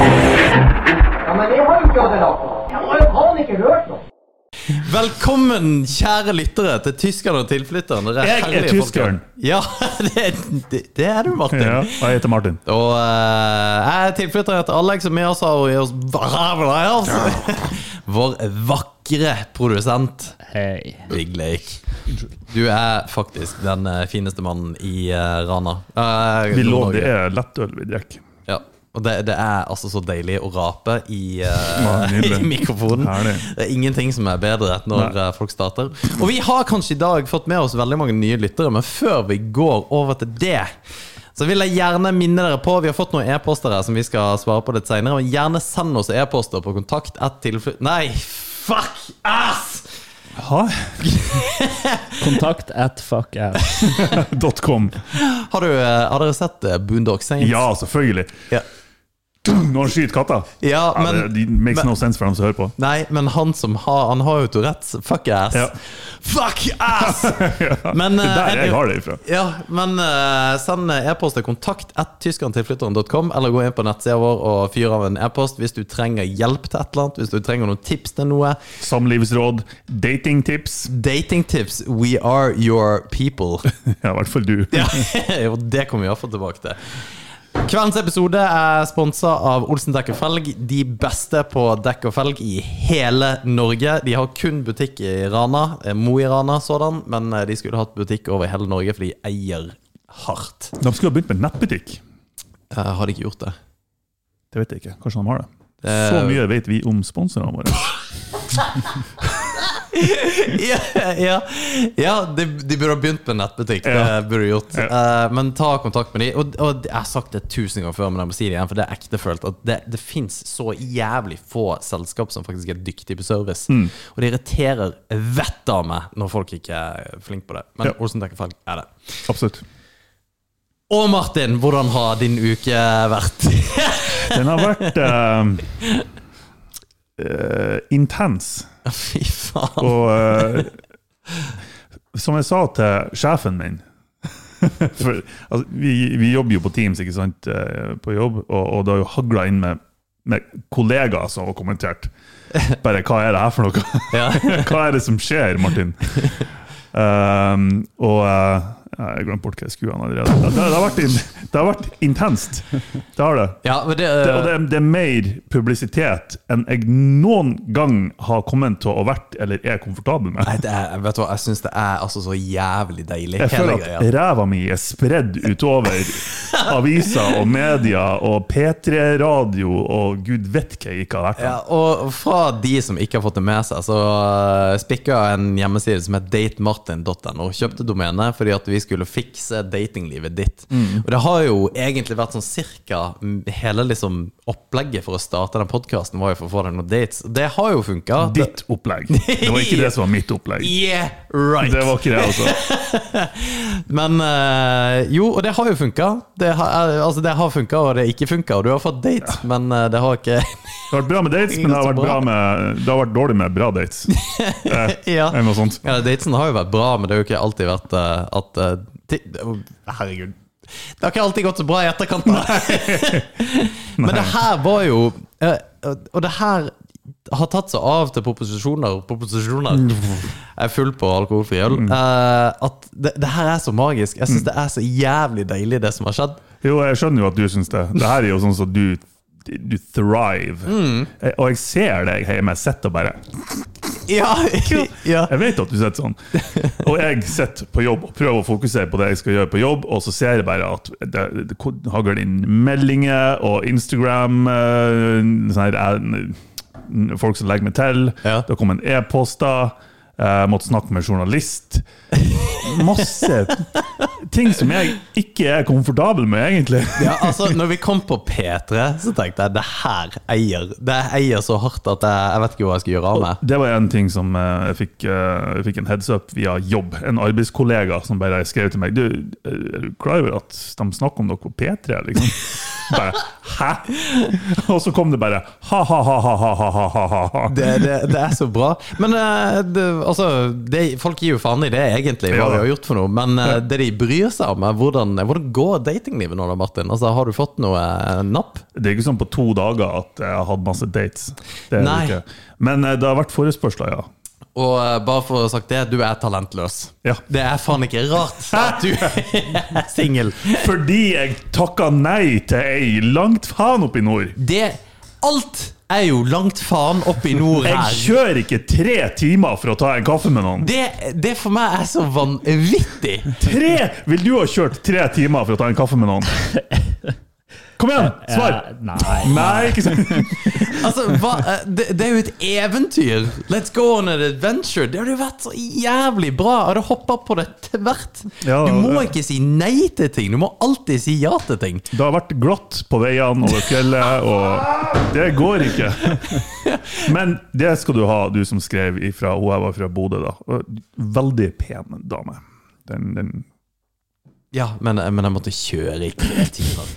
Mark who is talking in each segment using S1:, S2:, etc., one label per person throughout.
S1: Ja, men jeg har jo ikke hatt det nok. Jeg har jo faen ikke hørt noe.
S2: Velkommen, kjære lyttere, til tyskerne og tilflytterne. Dere
S3: Jeg er
S2: herlige
S3: tyskeren.
S2: folkene. Ja, det, det, det er du, Martin.
S3: Ja, og jeg heter Martin.
S2: Og eh, jeg er tilflytter etter Alex, og med oss har vi oss altså. Vår vakre produsent
S4: Hei.
S2: Big Lake. Du er faktisk den eh, fineste mannen i eh, Rana. Eh,
S3: Vi lå, det
S2: Nord-Norge.
S3: er lettøl vi drikker.
S2: Ja. Og det, det er altså så deilig å rape i, eh,
S3: Ja, nydelig.
S2: i mikrofonen.
S3: Herlig.
S2: Det er ingenting som er bedre enn når
S3: Nei.
S2: eh, folk starter. Og vi har kanskje i dag fått med oss veldig mange nye lyttere, men før vi går over til det så vil jeg gjerne minne dere på Vi har fått noen e-poster her som vi skal svare på litt senere. Men gjerne send oss e-poster på kontakt at tilflytt... Nei, fuck ass!
S3: Hæ?
S4: Kontakt at fuck ass.
S3: Dot com.
S2: Har, du, eh, har dere sett eh, Boondock Saints?
S3: Ja, selvfølgelig.
S2: Ja.
S3: Når han skyter katta.
S2: Ja,
S3: Ja,
S2: men
S3: det, det makes no sense for dem som hører på.
S2: Nei, men han som har Han har jo Tourettes. Fuck ass.
S3: Ja.
S2: Fuck ass! Men,
S3: Det er
S2: eh,
S3: der jeg har det ifra.
S2: Ja, men eh, send e-post til kontakt at tyskertilflytteren.com, eller gå inn på nettsida vår og fyr av en e-post hvis du trenger hjelp til et eller annet, hvis du trenger noen tips til noe.
S3: Samlivsråd, datingtips.
S2: Datingtips. We are your people.
S3: Ja, i hvert fall du.
S2: Ja, og det kommer vi iallfall tilbake til. Kveldens episode er sponsa av Olsen dekk og felg. De beste på dekk og felg i hele Norge. De har kun butikk i Rana, eh, Mo i Rana sådan, men eh, de skulle hatt butikk over hele Norge, for de eier hardt.
S3: De skulle ha begynt med nettbutikk.
S2: Eh, Har de ikke gjort det?
S3: Det vet jeg ikke. Kanskje de har det.
S2: Eh.
S3: Så mye vet vi om sponsorene våre.
S2: ja, ja, ja de, de burde ha begynt med nettbutikk.
S3: Ja.
S2: Det burde de gjort. Eh, men ta kontakt med de Og, og jeg har sagt det tusen ganger før, men jeg må si det igjen, for det er ektefølt. At det, det fins så jævlig få selskap som faktisk er dyktige på service.
S3: Mm.
S2: Og det irriterer vettet av meg når folk ikke er flinke på det. Men
S3: Ja.
S2: Olsen dekker feil. Er det.
S3: Absolutt.
S2: Og Martin, hvordan har din uke vært?
S3: Den har vært eh, eh, intens.
S2: Fy faen.
S3: Og eh, som jeg sa til sjefen min For altså, vi, vi jobber jo på Teams, ikke sant, eh, på jobb, og, og det har jo hagla inn med, med kollegaer som har kommentert. Bare 'hva er det her for noe?'
S2: Ja.
S3: Hva er det som skjer, Martin? Ehm, og eh, Jeg glemte bort hva jeg skulle an allerede. Det, det, har vært in, det har vært intenst. Det har det.
S2: Ja, men det,
S3: det og det, er- det er mer publisitet enn jeg noen gang har kommet til å ha vært eller er komfortabel med.
S2: Nei, det er, vet du hva, jeg syns det er altså så jævlig deilig.
S3: Jeg
S2: hele
S3: føler
S2: greia.
S3: at ræva mi er spredd utover aviser og media og P3-radio og gud vet hva jeg ikke har vært
S2: Ja,
S3: med.
S2: og fra de som ikke har fått det med seg, så eh, spikka jeg en hjemmeside som heter datemartin.no. Kjøpte domenet fordi at vi skulle fikse datinglivet ditt.
S3: Mm.
S2: Og det har jo egentlig vært sånn cirka mm, hele liksom opplegget for å starte den podkasten var jo for å få deg noen dates. Det har jo funka.
S3: Ditt opplegg. Det var ikke det som var mitt opplegg.
S2: Yeah, right!
S3: Det var ikke det, altså.
S2: Men eh, jo, og det har jo funka. Det har, eh, altså, det har funka, og det ikke funka. Og du har fått dates, men eh, det har ikke
S3: Det har vært bra med dates, men det har vært, bra med, det har vært dårlig med bra dates.
S2: Ja.
S3: Eller noe sånt.
S2: Ja, Datesen har jo vært bra, men det har jo ikke alltid vært eh, at eh, ti- Å, Herregud. Det har ikke alltid gått så bra i etterkant. da. men det her var jo eh, Og det her har tatt seg av til proposisjoner Proposisjoner. Jeg er full på alkoholfri øl. Eh, at det, det her er så magisk. Jeg syns det er så jævlig deilig, det som har skjedd.
S3: Jo, jeg skjønner jo at du syns det. Det her er jo sånn som du du thrive.
S2: Mm.
S3: Jeg, og jeg ser deg hjemme. Jeg sitter og bare
S2: Ja, ja.
S3: Jeg vet at du sitter sånn. Og jeg sitter på jobb og prøver å fokusere på det jeg skal gjøre på jobb, og så ser jeg bare at det, det hagler inn meldinger og Instagram eh, sånn her, eh, Folk som legger meg til.
S2: Ja.
S3: Det kommer en e-poster. Eh, måtte snakke med journalist. Masse ting som jeg ikke er komfortabel med, egentlig.
S2: Ja, altså, når vi kom på P3, så tenkte jeg det her eier Det eier så hardt at jeg, jeg vet ikke hva jeg skal gjøre av meg.
S3: Det var en ting som eh, jeg fikk, eh, jeg fikk en heads up via jobb. En arbeidskollega som bare skrev til meg Du, eh, er du klar over at de snakker om dere på P3? liksom? Bare, Hæ? Og så kom det bare ha-ha-ha-ha-ha-ha-ha.
S2: Det, det, det er så bra. Men eh, det, altså, det, folk gir jo faen i det, egentlig, hva
S3: Ja.
S2: de har gjort for noe. Men eh, det de bryr seg om, er hvordan, hvordan går datinglivet nå, da, Martin? Altså, har du fått noe eh, napp?
S3: Det er ikke sånn på to dager at jeg har hatt masse dates. Det er det
S2: Nei.
S3: Ikke. Men eh, det har vært forespørsler, ja.
S2: Og eh, bare for å ha sagt det, du er talentløs.
S3: Ja.
S2: Det er faen ikke rart at du er singel.
S3: Fordi jeg takka nei til ei langt faen opp i nord.
S2: Det Alt er jo langt faen opp i nord
S3: Jeg
S2: her.
S3: kjører ikke tre timer for å ta en kaffe med noen.
S2: Det, det for meg er så vanvittig.
S3: Tre! Vil du ha kjørt tre timer for å ta en kaffe med noen? Kom igjen, svar!
S4: Eh, nei.
S3: Nei, ikke sant?
S2: Altså, hva, eh, det, det er jo et eventyr. Let's go on an adventure. Det hadde jo vært så jævlig bra. Jeg hadde hoppa på det tvert.
S3: Ja,
S2: Du må
S3: ja.
S2: ikke si nei til ting. Du må alltid si ja til ting.
S3: Det har vært glatt på veiene over fjellet, og det går ikke. Men det skal du ha, du som skrev ifra hun jeg var fra Bodø, da. Og Veldig pen dame. Den, den
S2: Ja, men, eh, men jeg måtte kjøre i tre timer.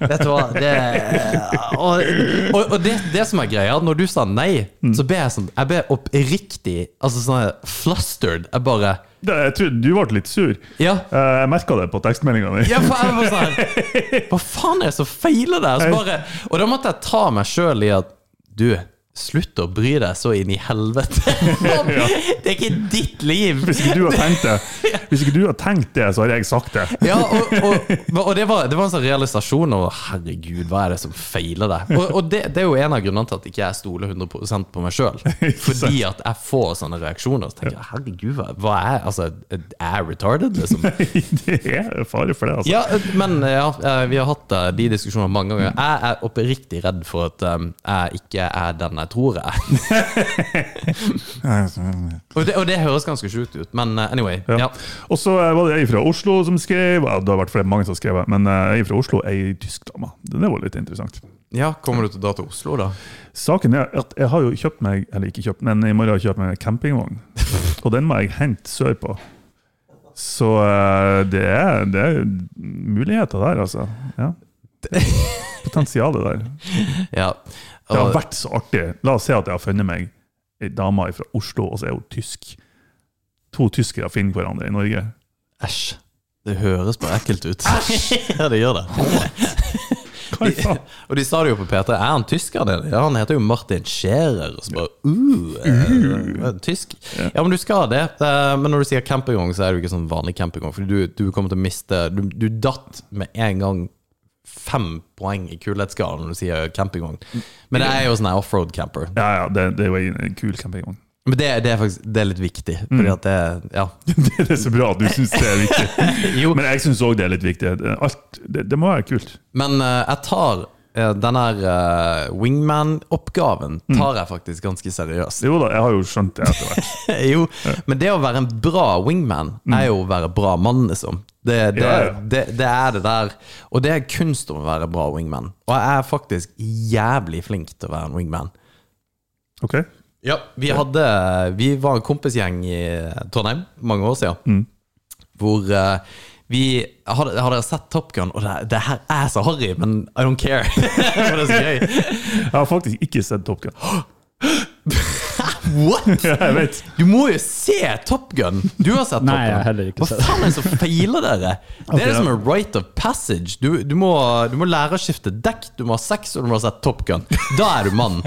S2: Vet du hva, det eh, Og, og, og det, det som er greia, når du sa nei,
S3: Mm.
S2: så ble jeg sånn Jeg ble oppriktig altså sånn her flustered. Jeg bare
S3: det, Jeg tror du ble litt sur.
S2: Ja.
S3: Eh, Jeg merka det på tekstmeldinga di.
S2: Ja, for jeg var sånn her, Hva faen er det som feiler der? Så bare, og da måtte jeg ta meg sjøl i at Du, slutt å bry deg så inn i helvete. Det er ikke ditt liv.
S3: Hvis ikke du har tenkt det, Hvis ikke du har tenkt det, så har jeg sagt det.
S2: Ja, og, og, og det, var, det var en sånn realisasjon over herregud, hva er det som feiler deg? Og, og det, det er jo en av grunnene til at ikke jeg stoler 100 på meg sjøl. Fordi at jeg får sånne reaksjoner. Så tenker jeg herregud, hva, hva er Altså, er jeg retarded, liksom?
S3: Det er fare for det, altså.
S2: Ja, men ja, eh, vi har hatt eh, de diskusjonene mange ganger. Jeg er oppriktig redd for at eh, jeg ikke er den jeg tror jeg er. Og det, og det høres ganske sjukt ut, men eh, anyway. Ja.
S3: Og så eh, var det ei fra Oslo som skrev. Ja, det har vært flere mange som har skrevet, men eh, ei fra Oslo, ei tysk dame. Det var litt interessant.
S2: ja, kommer du til å dra til Oslo, da?
S3: Saken er at jeg har jo kjøpt meg eller ikke kjøpt, men i morgen har jeg kjøpt meg en campingvogn. Og den må jeg hente sørpå. Så eh, det er, det er muligheter der, altså. Ja. Potensialet der.
S2: Ja.
S3: Det har
S2: Og,
S3: vært så artig. La oss si at jeg har funnet meg ei dame fra Oslo, og så er hun tysk. To tyskere finner hverandre i Norge.
S2: æsj. Det høres bare ekkelt ut. ja, det gjør det.
S3: Hva i faen?
S2: Og de sa det jo på P3. Er han tysker, det? Ja, han heter jo Martin Scherer. Og så bare uh, eh, Tysk. Ja, men du skal det. Eh, Men når du sier campingvogn, så er det jo ikke sånn vanlig campingvogn. For du, du kommer til å miste Du, du datt med en gang fem poeng i kulhetsskalaen når du sier campingvogn. Men det er jo sånn her offroad camper.
S3: Ja, ja, det, det var en kul campingvogn.
S2: Men det, det er faktisk Det er litt viktig, fordi at det Ja.
S3: Det er så bra at du syns det er viktig.
S2: Jo.
S3: Men jeg syns òg det er litt viktig. Alt, det, det må være kult.
S2: Men eh, jeg tar eh, den her eh, wingman-oppgaven tar jeg faktisk ganske seriøst.
S3: Jo da, jeg har jo skjønt det etter hvert.
S2: jo, men det å være en bra wingman er jo å være bra mann, liksom. Det, det,
S3: Mm. Ja, ja.
S2: Det, det er det der. Og det er kunst om å være bra wingman. Og jeg er faktisk jævlig flink til å være en wingman.
S3: Ok?
S2: Ja, vi, hadde, vi var en kompisgjeng i Trondheim for mange år siden.
S3: Mm.
S2: Hvor eh, vi har, har dere sett Top Gun? Og det, det her er så harry, men I don't care. For det er så gøy.
S3: Jeg har faktisk ikke sett Top Gun.
S2: What?
S3: Ja, jeg vet.
S2: Du må jo se Top Gun! Du har sett
S4: Nei,
S2: Top Gun.
S4: jeg har heller ikke sett
S2: Hva faen er det som feiler dere? Det er
S3: ja.
S2: som en right of passage. Du, du, må, du må lære å skifte dekk, du må ha sex, og du må ha sett Top Gun. Da er du mann.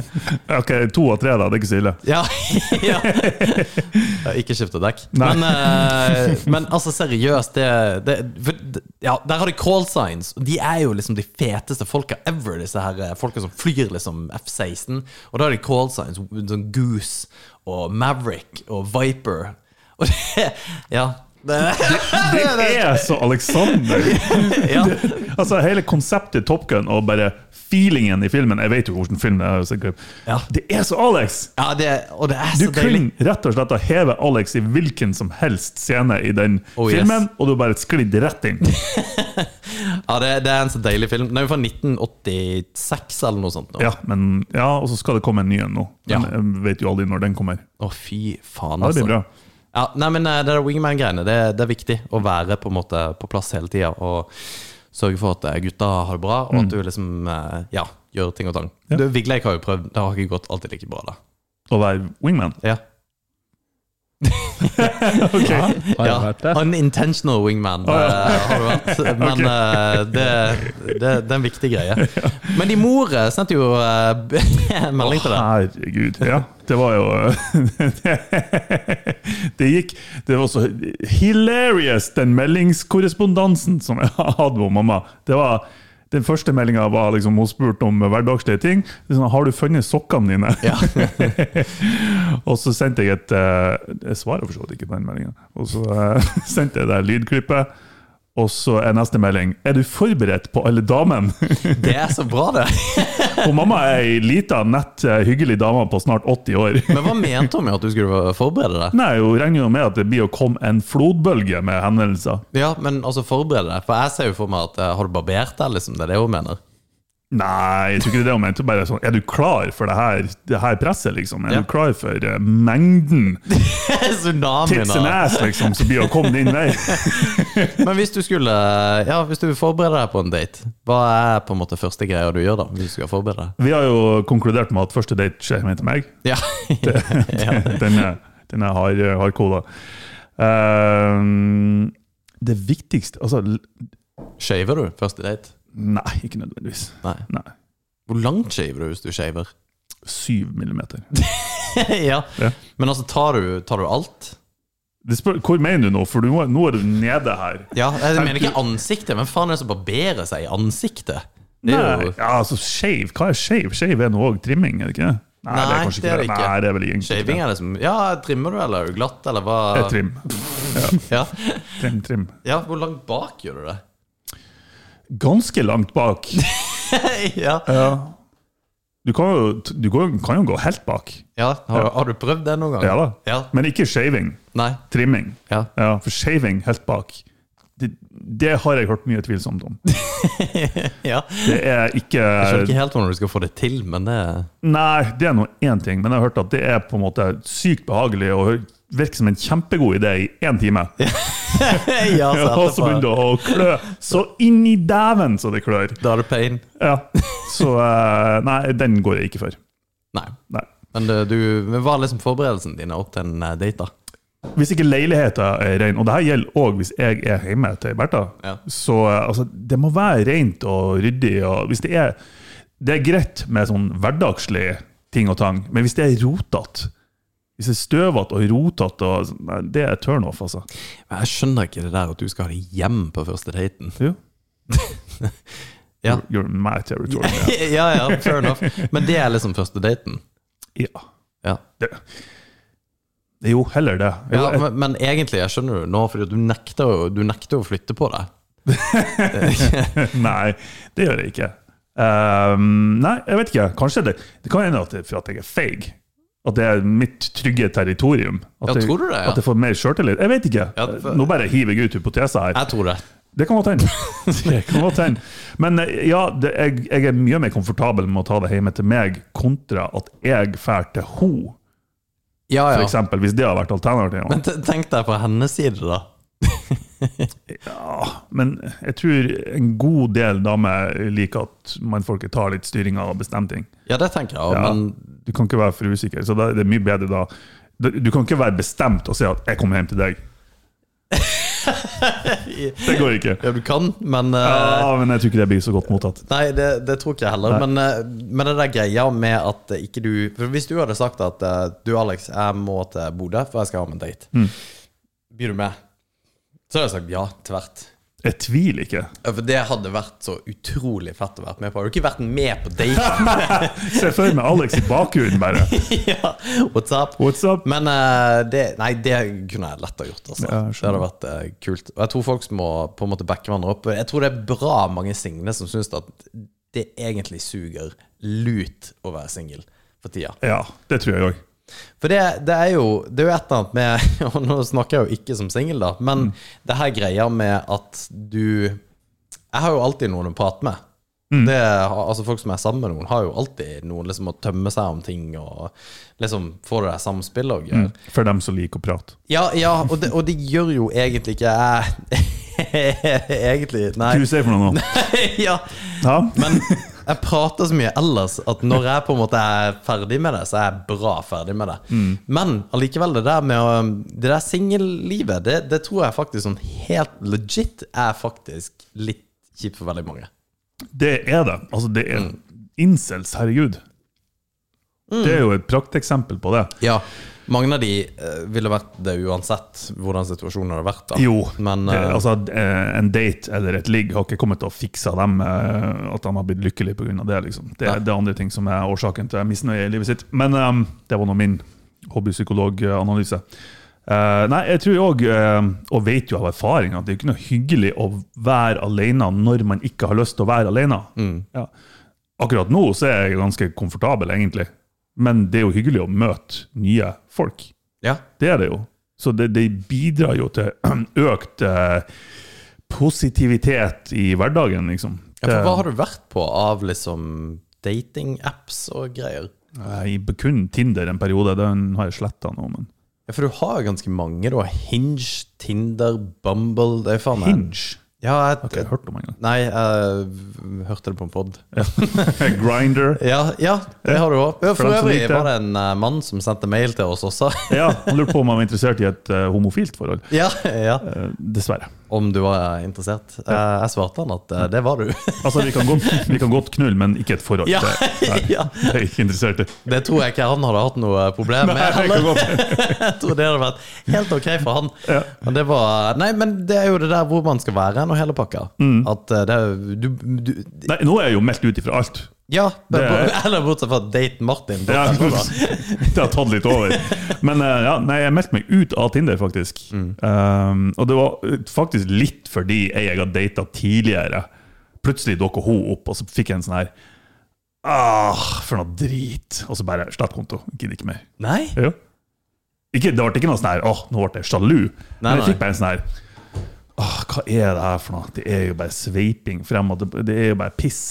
S3: Ok, To av tre, da. Det er ikke så ille.
S2: Ja. ja. Ja, Ikke skifte dekk. Men, eh, men altså, seriøst, det, det for, det- Ja, der har de call signs. og De er jo liksom de feteste folka ever, disse her eh, folka som flyr liksom F-16. Og da har de call signs sånn Goose og Maverick og Viper. Og det, ja Det,
S3: Det er så Alexander!
S2: ja.
S3: Altså Hele konseptet Top Gun og bare feelingen i filmen Jeg vet jo hvordan filmen er. sikkert.
S2: Ja.
S3: Det er så Alex!
S2: ja, det og det er
S3: Du
S2: så deilig.
S3: kunne rett og slett ha hevet Alex i hvilken som helst scene i den
S2: Oh, yes.
S3: filmen, og du bare sklidd rett inn.
S2: Ja, det, det er en så deilig film. Den er jo fra 1986 eller noe sånt. Nå.
S3: Ja, men, ja, Og så skal det komme en ny en nå.
S2: Ja.
S3: Men jeg vet jo aldri når den kommer.
S2: Å, fy faen, altså.
S3: Ja, det blir bra.
S2: Ja, nei, men eh, det der wingman-greiene, det, det er viktig å være på en måte på plass hele tida og sørge for at eh, gutta har det bra, og
S4: Mm.
S2: at du liksom eh, ja, gjør ting og tang.
S3: Ja.
S2: Du, Vigleik har jo prøvd, det har ikke gått alltid like bra, da.
S3: Å være wingman.
S2: Ja.
S4: Har
S2: Ja,
S4: jeg vært det?
S2: unintentional wingman eh, har det vært, men eh, det, det, det er en viktig greie. Men de mor eh, sendte jo eh, en melding til deg.
S3: Herregud. Ja, det var jo Det gikk Det var så hilarious, den meldingskorrespondansen som jeg hadde med mamma. Det var den første meldinga var liksom, hun spurte om hverdagslige ting. Det er Sånn, 'Har du funnet sokkene dine?'
S2: Ja.
S3: og så sendte jeg et eh, Jeg svarer for så vidt ikke på den meldinga. Og så eh, sendte jeg det lydklippet, og så er neste melding 'Er du forberedt på alle damene?'
S2: Det er så bra, det.
S3: Og mamma er ei lita, nett, eh, hyggelig dame på snart 80 år.
S2: Men hva mente hun med at du skulle forberede
S4: Mm.
S2: deg?
S3: Nei, hun regner jo med at det blir å komme en flodbølge med henvendelser.
S2: Ja, men altså forberede deg. For jeg ser jo for meg at eh, har du barbert deg, liksom? Det er det hun mener.
S3: Nei, jeg tror ikke det er det hun mente. Bare sånn, er du klar for det her, det her presset, liksom? Er
S2: Ja.
S3: du klar for eh, mengden
S2: Tsunamien
S3: tits and
S2: da.
S3: ass, liksom, som blir å komme din vei?
S2: Men hvis du skulle Ja, hvis du forbereder deg på en date, hva er på en måte første greia du gjør da? Hvis du skal forberede deg?
S3: Vi har jo konkludert med at første date skjer med til meg.
S2: Ja. ja.
S3: Den er, den er hard, hardkoda. Eh, det viktigste Altså, l-
S2: Shaver du første date?
S3: nei, ikke nødvendigvis.
S2: Nei.
S3: Nei.
S2: Hvor langt shaver du hvis du shaver?
S3: Syv millimeter.
S2: ja.
S3: Ja.
S2: Men altså, tar du, tar du alt?
S3: Det spør, hvor mener du nå? For du må, nå er du nede her.
S2: Ja, jeg mener ikke ansiktet. Hvem faen er det som barberer seg i ansiktet? Det er
S3: Nei,
S2: jo
S3: ja, altså skeiv. Hva er skeiv? Skeiv er noe òg trimming, er det ikke? det? Nei, det
S2: Nei,
S3: er kanskje
S2: det
S3: ikke
S2: er
S3: det.
S2: det ikke.
S3: Nei, det er vel egentlig
S2: Shaving er liksom Ja, trimmer du, eller er du glatt, eller hva?
S3: Det er trim.
S2: Ja.
S3: Trim, trim.
S2: ja, hvor langt bak gjør du det?
S3: Ganske langt bak.
S2: ja.
S3: Ja. Du kan jo, du går- kan jo gå helt bak.
S2: ja har, har du prøvd det noen gang?
S3: Ja da.
S2: Ja.
S3: Men ikke shaving.
S2: Nei.
S3: Trimming.
S2: Ja.
S3: Ja, for shaving helt bak, det, det har jeg hørt mye tvilsomt om.
S2: ja.
S3: Det er
S2: Jeg skjønner
S3: ikke
S2: ikke helt hvordan du skal få det til, men det
S3: Nei, det er nå én ting, men jeg har hørt at det er på en måte sykt behagelig og virker som en kjempegod idé i én time.
S2: Ja,
S3: Ja, og så begynner det å klø så inn i dæven så det klør.
S2: Da er det pain.
S3: Ja. Så eh, nei, den går jeg ikke for.
S2: Nei.
S3: Nei.
S2: Men eh, du, men hva er liksom forberedelsen din opp til en eh, date, da?
S3: Hvis ikke leiligheten er ren, og det her gjelder òg hvis jeg er hjemme til Bertha,
S2: Ja.
S3: så eh, altså, det må være rent og ryddig. Og hvis det, er, det er greit med sånn hverdagslige ting og tang, men hvis det er rotete hvis det er støvete og rotete, og sånn, nei, det er turnoff, altså.
S2: Men jeg skjønner ikke det der at du skal ha det hjem på første daten.
S3: Jo.
S2: Ja.
S3: You're in my territory. Ja.
S2: ja, ja, fair enough. Men det er liksom første daten.
S3: ja.
S2: Ja.
S3: Det, det er jo heller det. Jo, eh.
S2: Ja,
S3: jeg-
S2: men, men egentlig, jeg skjønner jo nå, fordi du nekter, jo- du nekter jo å flytte på deg.
S3: Nei, det gjør jeg ikke. Ehm, nei, jeg vet ikke. Kanskje det Det kan hende at det er for at jeg er feig. At det er mitt trygge territorium. At,
S2: Ja,
S3: jeg,
S2: tror du det, ja?
S3: at jeg får mer sjøltillit. Jeg vet ikke.
S2: Ja, for-
S3: Nå bare hiver jeg ut hypoteser her.
S2: Jeg tror det.
S3: Det kan godt hende. Det kan godt hende. Men eh, ja, det, jeg, jeg er mye mer komfortabel med å ta det hjemme til meg, kontra at jeg drar til henne,
S2: Ja,
S3: for
S2: ja.
S3: eksempel, Hvis det har vært alternativet.
S2: Men te- tenk deg fra hennes side, da.
S3: Ja, men jeg tror en god del damer liker at mannfolket tar litt styringa og bestemmer ting.
S2: Ja, det tenker jeg òg,
S3: Ja,
S2: men
S3: du kan ikke være for usikker, så da er det mye bedre da. Du du kan ikke være bestemt og si at 'jeg kommer hjem til deg'. Det går ikke.
S2: ja, du kan. Men eh,
S3: Ja, men jeg tror ikke det blir så godt mottatt.
S2: Nei, det, det tror ikke jeg heller. Men, eh, men det der greia med at eh, ikke du for Hvis du hadde sagt at eh, du, Alex, jeg må til Bodø, for jeg skal ha med en date, blir du med? Så hadde jeg sagt ja tvert.
S3: Jeg tviler ikke.
S2: Ja, For det hadde vært så utrolig fett å være med på. Har du ikke vært med på daten?
S3: Se for meg Alex i bakgrunnen, bare.
S2: ja, what's up?
S3: What's up?
S2: Men eh, det, nei, det kunne jeg lett ha gjort. Altså.
S3: Ja, jeg
S2: det hadde vært eh, kult. Og jeg tror folk må på en måte backe hverandre opp. Jeg tror det er bra mange single som syns at det egentlig suger lut å være singel for tida.
S3: Ja, det tror jeg òg.
S2: For det, det, er jo, det er jo et eller annet med Og nå snakker jeg jo ikke som singel, da, men det her greia med at du Jeg har jo alltid noen å prate med. Det, altså Folk som er sammen med noen, har jo alltid noen liksom å tømme seg om ting og liksom få det der samspillet og greier.
S3: For dem som liker å prate.
S2: Ja, ja og, det, og det gjør jo egentlig ikke jeg Egentlig, nei.
S3: Du sier for noe nå.
S2: ja,
S3: Ja?
S2: men jeg prater så mye ellers at når jeg på en måte er ferdig med det, så er jeg bra ferdig med det. Men allikevel, det der med å, Det der singellivet, det, det tror jeg faktisk sånn helt legit er faktisk litt kjipt for veldig mange.
S3: Det er det. Altså, det er incels, herregud. Det er jo et prakteksempel på det.
S2: Ja, mange av de eh, ville vært det uansett hvordan situasjonen hadde vært. da.
S3: Jo,
S2: Men,
S3: det,
S2: eh,
S3: altså eh, en date eller et ligg har ikke kommet til å fikse dem eh, at de har blitt lykkelige pga. det. Liksom. Det,
S2: Nei.
S3: det er andre ting som er årsaken til misnøye i livet sitt. Men eh, det var nå min hobbypsykologanalyse. Eh, nei, jeg tror òg, og vet jo av erfaring, at det er ikke noe hyggelig å være alene når man ikke har lyst til å være alene.
S2: Mm.
S3: Ja. Akkurat nå så er jeg ganske komfortabel, egentlig. Men det er jo hyggelig å møte nye folk.
S2: ja.
S3: Det er det jo. Så det, det bidrar jo til økt eh, positivitet i hverdagen, liksom.
S2: Ja, for hva har du vært på av liksom dating-apps og greier?
S3: Jeg kun Tinder en periode, den har jeg sletta nå, men
S2: Ja, For du har jo ganske mange. Du har Hinge, Tinder, Bumble Det er faen meg
S3: Hinge?
S2: Ja, jeg,
S3: Det har jeg hørt om en gang.
S2: Nei, jeg v- hørte det på en pod.
S3: Grinder.
S2: Ja, ja, det har du òg.
S3: for
S2: For
S3: dem som
S2: øvrig
S3: likte det.
S2: var det en eh, mann som sendte mail til oss også.
S3: Ja, han lurte på om han var interessert i et eh, homofilt forhold.
S2: ja, ja.
S3: Eh, dessverre.
S2: Om du var interessert. Eh, Jeg svarte han at eh, det var du.
S3: Altså, vi kan godt, vi kan godt knulle, men ikke et forhold.
S2: ja,
S3: Det,
S2: ja.
S3: det er jeg ikke interessert i.
S2: Det tror jeg ikke han hadde hatt noe problem med.
S3: Nei, det
S2: heller.
S3: kan godt.
S2: Jeg tror det hadde vært helt ok for han. Men det var Nei, men det er jo det der hvor man skal være hen, og hele pakka.
S3: Mm.
S2: At eh, det er du, du
S3: Nei, nå er jeg jo meldt ut ifra alt.
S2: Ja,
S3: Det er-
S2: eller bortsett fra Date Martin.
S3: Ja,
S2: bortsett fra.
S3: det har tatt litt over. Men eh, ja, nei, jeg meldte meg ut av Tinder, faktisk.
S2: Mm.
S3: Um, og det var faktisk litt fordi ei jeg har data tidligere. Plutselig dukka hun opp, og så fikk jeg en sånn her Ah, for noe drit! Og så bare slett konto. Gidder ikke mer.
S2: Nei?
S3: Jo. Ikke, det ble ikke noe sånn her åh, nå ble jeg sjalu. Men jeg
S2: nei.
S3: fikk bare en sånn her åh, hva er det her for noe? Det er jo bare sveiping frem, og det, det er jo bare piss.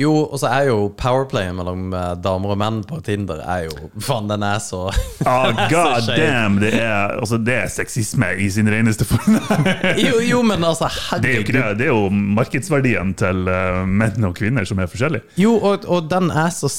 S2: Jo, og så er jo powerplayen mellom eh, damer og menn på Tinder er jo Faen, den er så
S3: Ah, god
S2: skjev.
S3: damn! Det er, altså, det er sexisme i sin reneste form.
S2: Jo, jo men altså,
S3: Det er jo, ikke
S2: herregud.
S3: det. Det er jo markedsverdien til eh, menn og kvinner som er forskjellig.
S2: Jo, og, og den er så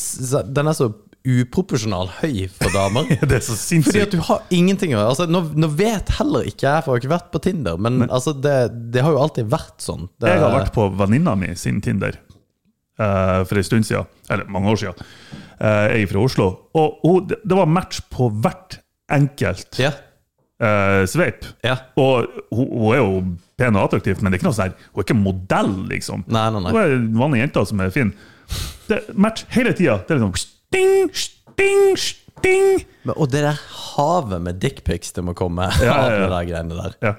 S2: Den er så uproporsjonal høy for damer.
S3: Det er
S2: Fordi
S3: så
S2: at
S3: sinnssykt.
S2: du har ingenting å gjøre. Altså, nå, nå vet heller ikke jeg, for jeg har ikke vært på Tinder, men altså, det, det har jo alltid vært sånn. Det,
S3: Jeg har vært på venninna mi sin Tinder eh, for en stund siden. Eller mange år siden. Eh, jeg er fra Oslo. Og hun, det- det var match på hvert enkelt
S2: Ja,
S3: eh, sveip.
S2: ja.
S3: Og hun, hun er jo pen og attraktiv, men det er ikke noe sånn her, hun er ikke modell, liksom.
S2: Nei, nei,
S3: Hun
S2: nei.
S3: er en vanlig jente som er fin. Det er match hele tida. Det er liksom sting, sting, sting.
S2: Men, og det der havet med dickpics det må komme
S3: ja,
S2: av
S3: ja.
S2: det der greiene der.
S3: Ja.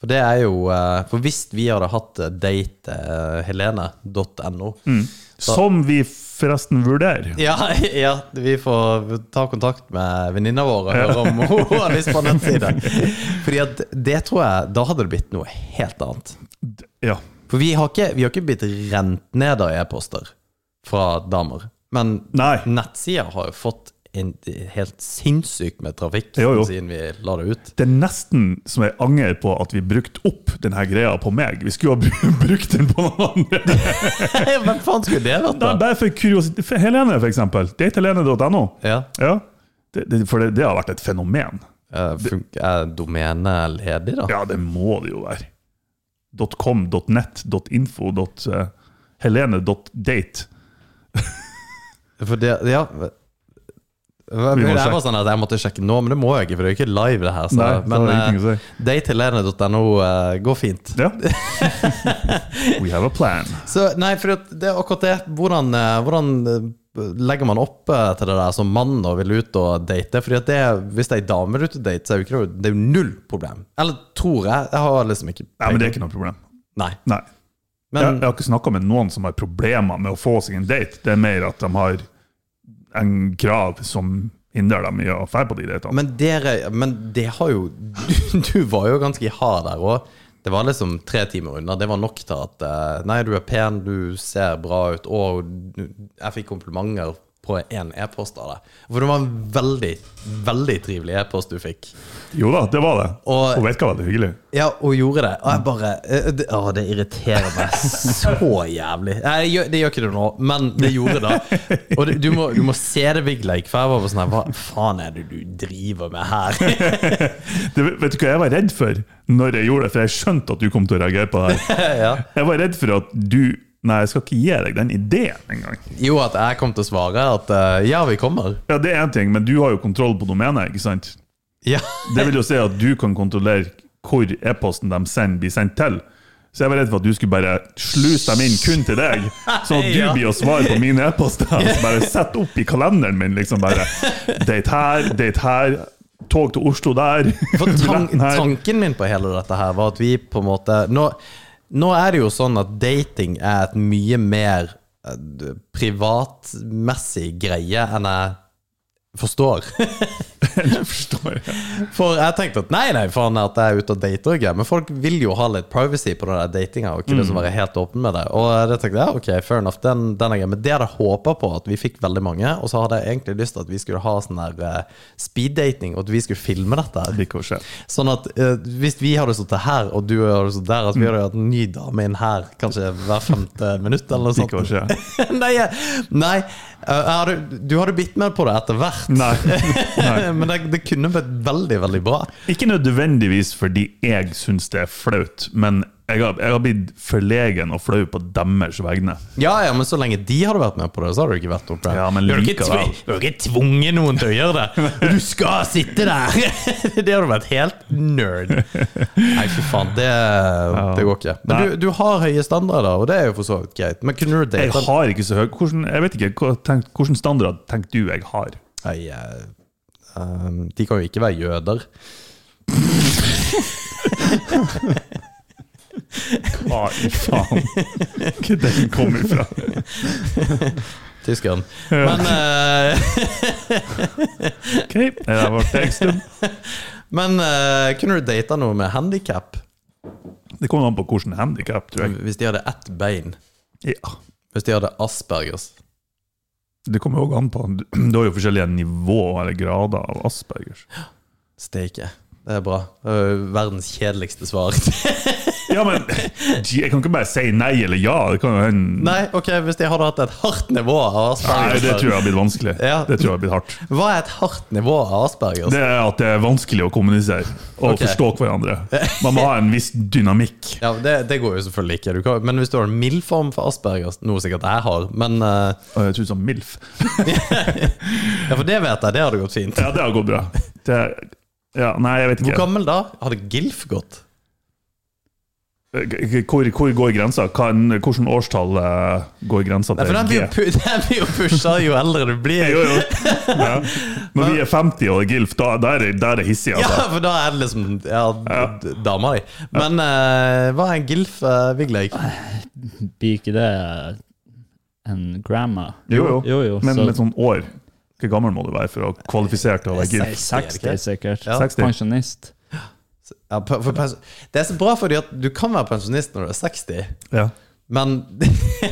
S2: For det er jo eh, For hvis vi hadde hatt eh, date eh, helene.no
S3: Mm. Som vi forresten vurderer.
S2: ja, ja, vi får ta kontakt med venninna vår og høre om hun har lyst på en nettside. Fordi at det tror jeg Da hadde det blitt noe helt annet.
S3: Ja.
S2: For vi har ikke, vi har ikke blitt rent ned av e-poster fra damer. Men
S3: Nei.
S2: nettsider har jo fått en helt sinnssykt med trafikk
S3: Jo, jo.
S2: siden vi la det ut.
S3: Det er nesten som jeg angrer på at vi brukte opp denne greia på meg. Vi skulle ha bru- brukt den på noen andre.
S2: Hvem faen skulle det vært,
S3: Nei,
S2: da?
S3: bare for kuriositet. For Helene, for eksempel. Datelene.no.
S2: Ja,
S3: Ja. Det, det, for det, det har vært et fenomen.
S2: eh, fun- Er domenet ledig, da?
S3: Ja, det må det jo være. .com, .net, .info, dot, eh, Helene, dot .date.
S2: For det, ja Det
S3: må
S2: var
S3: sjekke.
S2: sånn at Jeg måtte sjekke nå, men det må jeg ikke, for det er jo ikke live, det her. Så.
S3: Nei, så
S2: men
S3: det er ingenting å si.
S2: eh, daytilene.no eh, går fint.
S3: Ja. We have a plan.
S2: Så nei, for at det er akkurat det. Hvordan, eh, hvordan eh, legger man opp eh, til det der som mann og vil ut og date? Fordi at det, hvis det er ei dame du er ute og date, så er det, jo ikke, noe- det er jo null problem. Eller tror jeg. Jeg har liksom ikke
S3: Nei, men det er ikke noe problem.
S2: Nei.
S3: Nei.
S2: Men,
S3: jeg, jeg har ikke snakka med noen som har problemer med å få seg en date. Det er mer at de har en krav som hindrer dem i å dra på de datene.
S2: men dere Men det har jo Du, du var jo ganske hard der òg. Det var liksom tre timer unna. Det var nok til at eh, Nei, du er pen, du ser bra ut, og du- jeg fikk komplimenter på én e-post av deg. For det var en veldig, veldig trivelig e-post du fikk.
S3: Jo da, det var det.
S2: Og-
S3: Hun virka veldig hyggelig.
S2: Ja, og gjorde det. Og jeg bare eh, det- Å, det irriterer meg så jævlig. Nei, det gjør- det gjør ikke det nå, men det gjorde det. Og det, du, må, du må se det, Vigleik, for jeg var bare sånn her, Hva faen er det du driver med her?
S3: Det, vet du hva jeg var redd for når jeg gjorde det? For jeg skjønte at du kom til å reagere på det her.
S2: ja.
S3: Jeg var redd for at du Nei, jeg skal ikke gi deg den ideen engang.
S2: Jo, at jeg kom til å svare at eh, ja, vi kommer.
S3: Ja, det er én ting, men du har jo kontroll på domenet, ikke sant?
S2: Ja.
S3: Det vil jo si at du kan kontrollere hvor e-posten de sender, blir sendt til. Så jeg var redd for at du skulle bare sluse dem inn kun til deg, sånn at du
S2: Ja.
S3: blir å svare på mine e-poster. Så Bare sett opp i kalenderen min, liksom bare Date her, date her, tog til Oslo der.
S2: For tan
S3: billetten her.
S2: tanken min på hele dette her var at vi på en måte Nå, nå er det jo sånn at dating er et mye mer eh, d- privatmessig greie enn jeg forstår.
S3: Jeg forstår.
S2: For jeg tenkte at nei, nei, faen at jeg er ute og dater og greier. Men folk vil jo ha litt privacy på den der datinga og ikke liksom
S3: Mm.
S2: være helt åpen med det. Og eh, det tenkte jeg, ok, fair enough, den, den er grei. Men det hadde jeg håpa på at vi fikk veldig mange. Og så hadde jeg egentlig lyst til at vi skulle ha sånn der eh, speed-dating, og at vi skulle filme dette her.
S3: Det ikke å skje.
S2: Sånn at eh, hvis vi hadde sittet her, og du hadde sittet der, at
S3: Mm.
S2: vi hadde hatt en ny dame inn her kanskje hver femte minutt, eller
S3: Det
S2: noe
S3: ikke å
S2: sånt.
S3: skje.
S2: nei, jeg- nei eh, jeg hadde, du hadde bitt mer på det etter hvert.
S3: Nei. Nei.
S2: Men det, det kunne vært veldig, veldig bra.
S3: Ikke nødvendigvis fordi jeg syns det er flaut, men jeg har, jeg har blitt forlegen og flau på deres vegne.
S2: Ja, ja, men så lenge de hadde vært med på det, så hadde det ikke vært noe problem.
S3: Ja, men
S2: Du hadde ikke
S3: likevel.
S2: tvi- Du hadde ikke tvunget noen til å gjøre det. Du skal sitte der! Det hadde vært helt nerd. Nei, fy faen, det, det går ikke. Men du, du har høye standarder, og det er jo for så vidt greit. Men kunne du
S3: Jeg
S2: date
S3: har ikke så høy hvordan, Jeg vet ikke, hva tenk, hvordan standard tenker du jeg har?
S2: Nei, eh, um, de kan jo ikke være jøder.
S3: Hva i faen? Hvor den kom ifra?
S2: Tyskeren. Men, eh,
S3: Ok, det var teksten.
S2: men eh, kunne du data noe med handikap?
S3: Det kommer an på hvilken handikap, tror jeg.
S2: Hvis de hadde ett bein?
S3: Ja.
S2: Hvis de hadde aspergers?
S3: Det kommer også an på Du har jo forskjellige nivå eller grader av aspergers.
S2: Steike. Det er bra. Det er jo verdens kjedeligste svar.
S3: Ja, men Jeg kan ikke bare si nei eller ja. Det kan jo hende
S2: Nei, ok, hvis de hadde hatt et hardt nivå av
S3: Nei,
S2: aspergers
S3: det tror jeg har blitt vanskelig.
S2: Ja.
S3: Det tror jeg har blitt hardt.
S2: Hva er et hardt nivå av aspergers?
S3: Det er at det er vanskelig å kommunisere og
S2: Ok.
S3: forstå hverandre. Man må ha en viss dynamikk.
S2: Ja, det, det går jo selvfølgelig ikke. Du kan, men hvis du har en mild form for aspergers, noe sikkert jeg har Men eh,
S3: Og Jeg tror sånn MILF.
S2: ja, for det vet jeg, det hadde gått fint.
S3: Ja, det har gått bra. Det er, ja, nei, jeg vet
S2: Hvor
S3: ikke.
S2: gammel da? Hadde GILF gått?
S3: Hvor, hvor går grensa? Hvilket årstall eh, går grensa
S2: Nei,
S3: til
S2: for den blir jo
S3: G?
S2: pu- den blir jo pusha jo eldre du blir.
S3: Jo, jo. Ja. Når vi er 50 og er GILF, da da er det, da er det hissig,
S2: Ja,
S3: altså.
S2: for da er det liksom ja, d- dama di. Men eh, hva er en GILF, uh, Vigleik?
S4: Blir ikke det en grandma?
S3: Jo, jo.
S4: Jo, jo,
S3: Men
S4: så-
S3: med sånn år Hvor gammel må du være for å kvalifisere til å være
S4: Nei,
S3: GILF?
S4: 60 sikkert.
S2: Ja.
S3: 60.
S4: Pensjonist.
S2: Ja, pe- for pens- det er så bra, fordi at du kan være pensjonist når du er 60.
S3: Ja.
S2: Men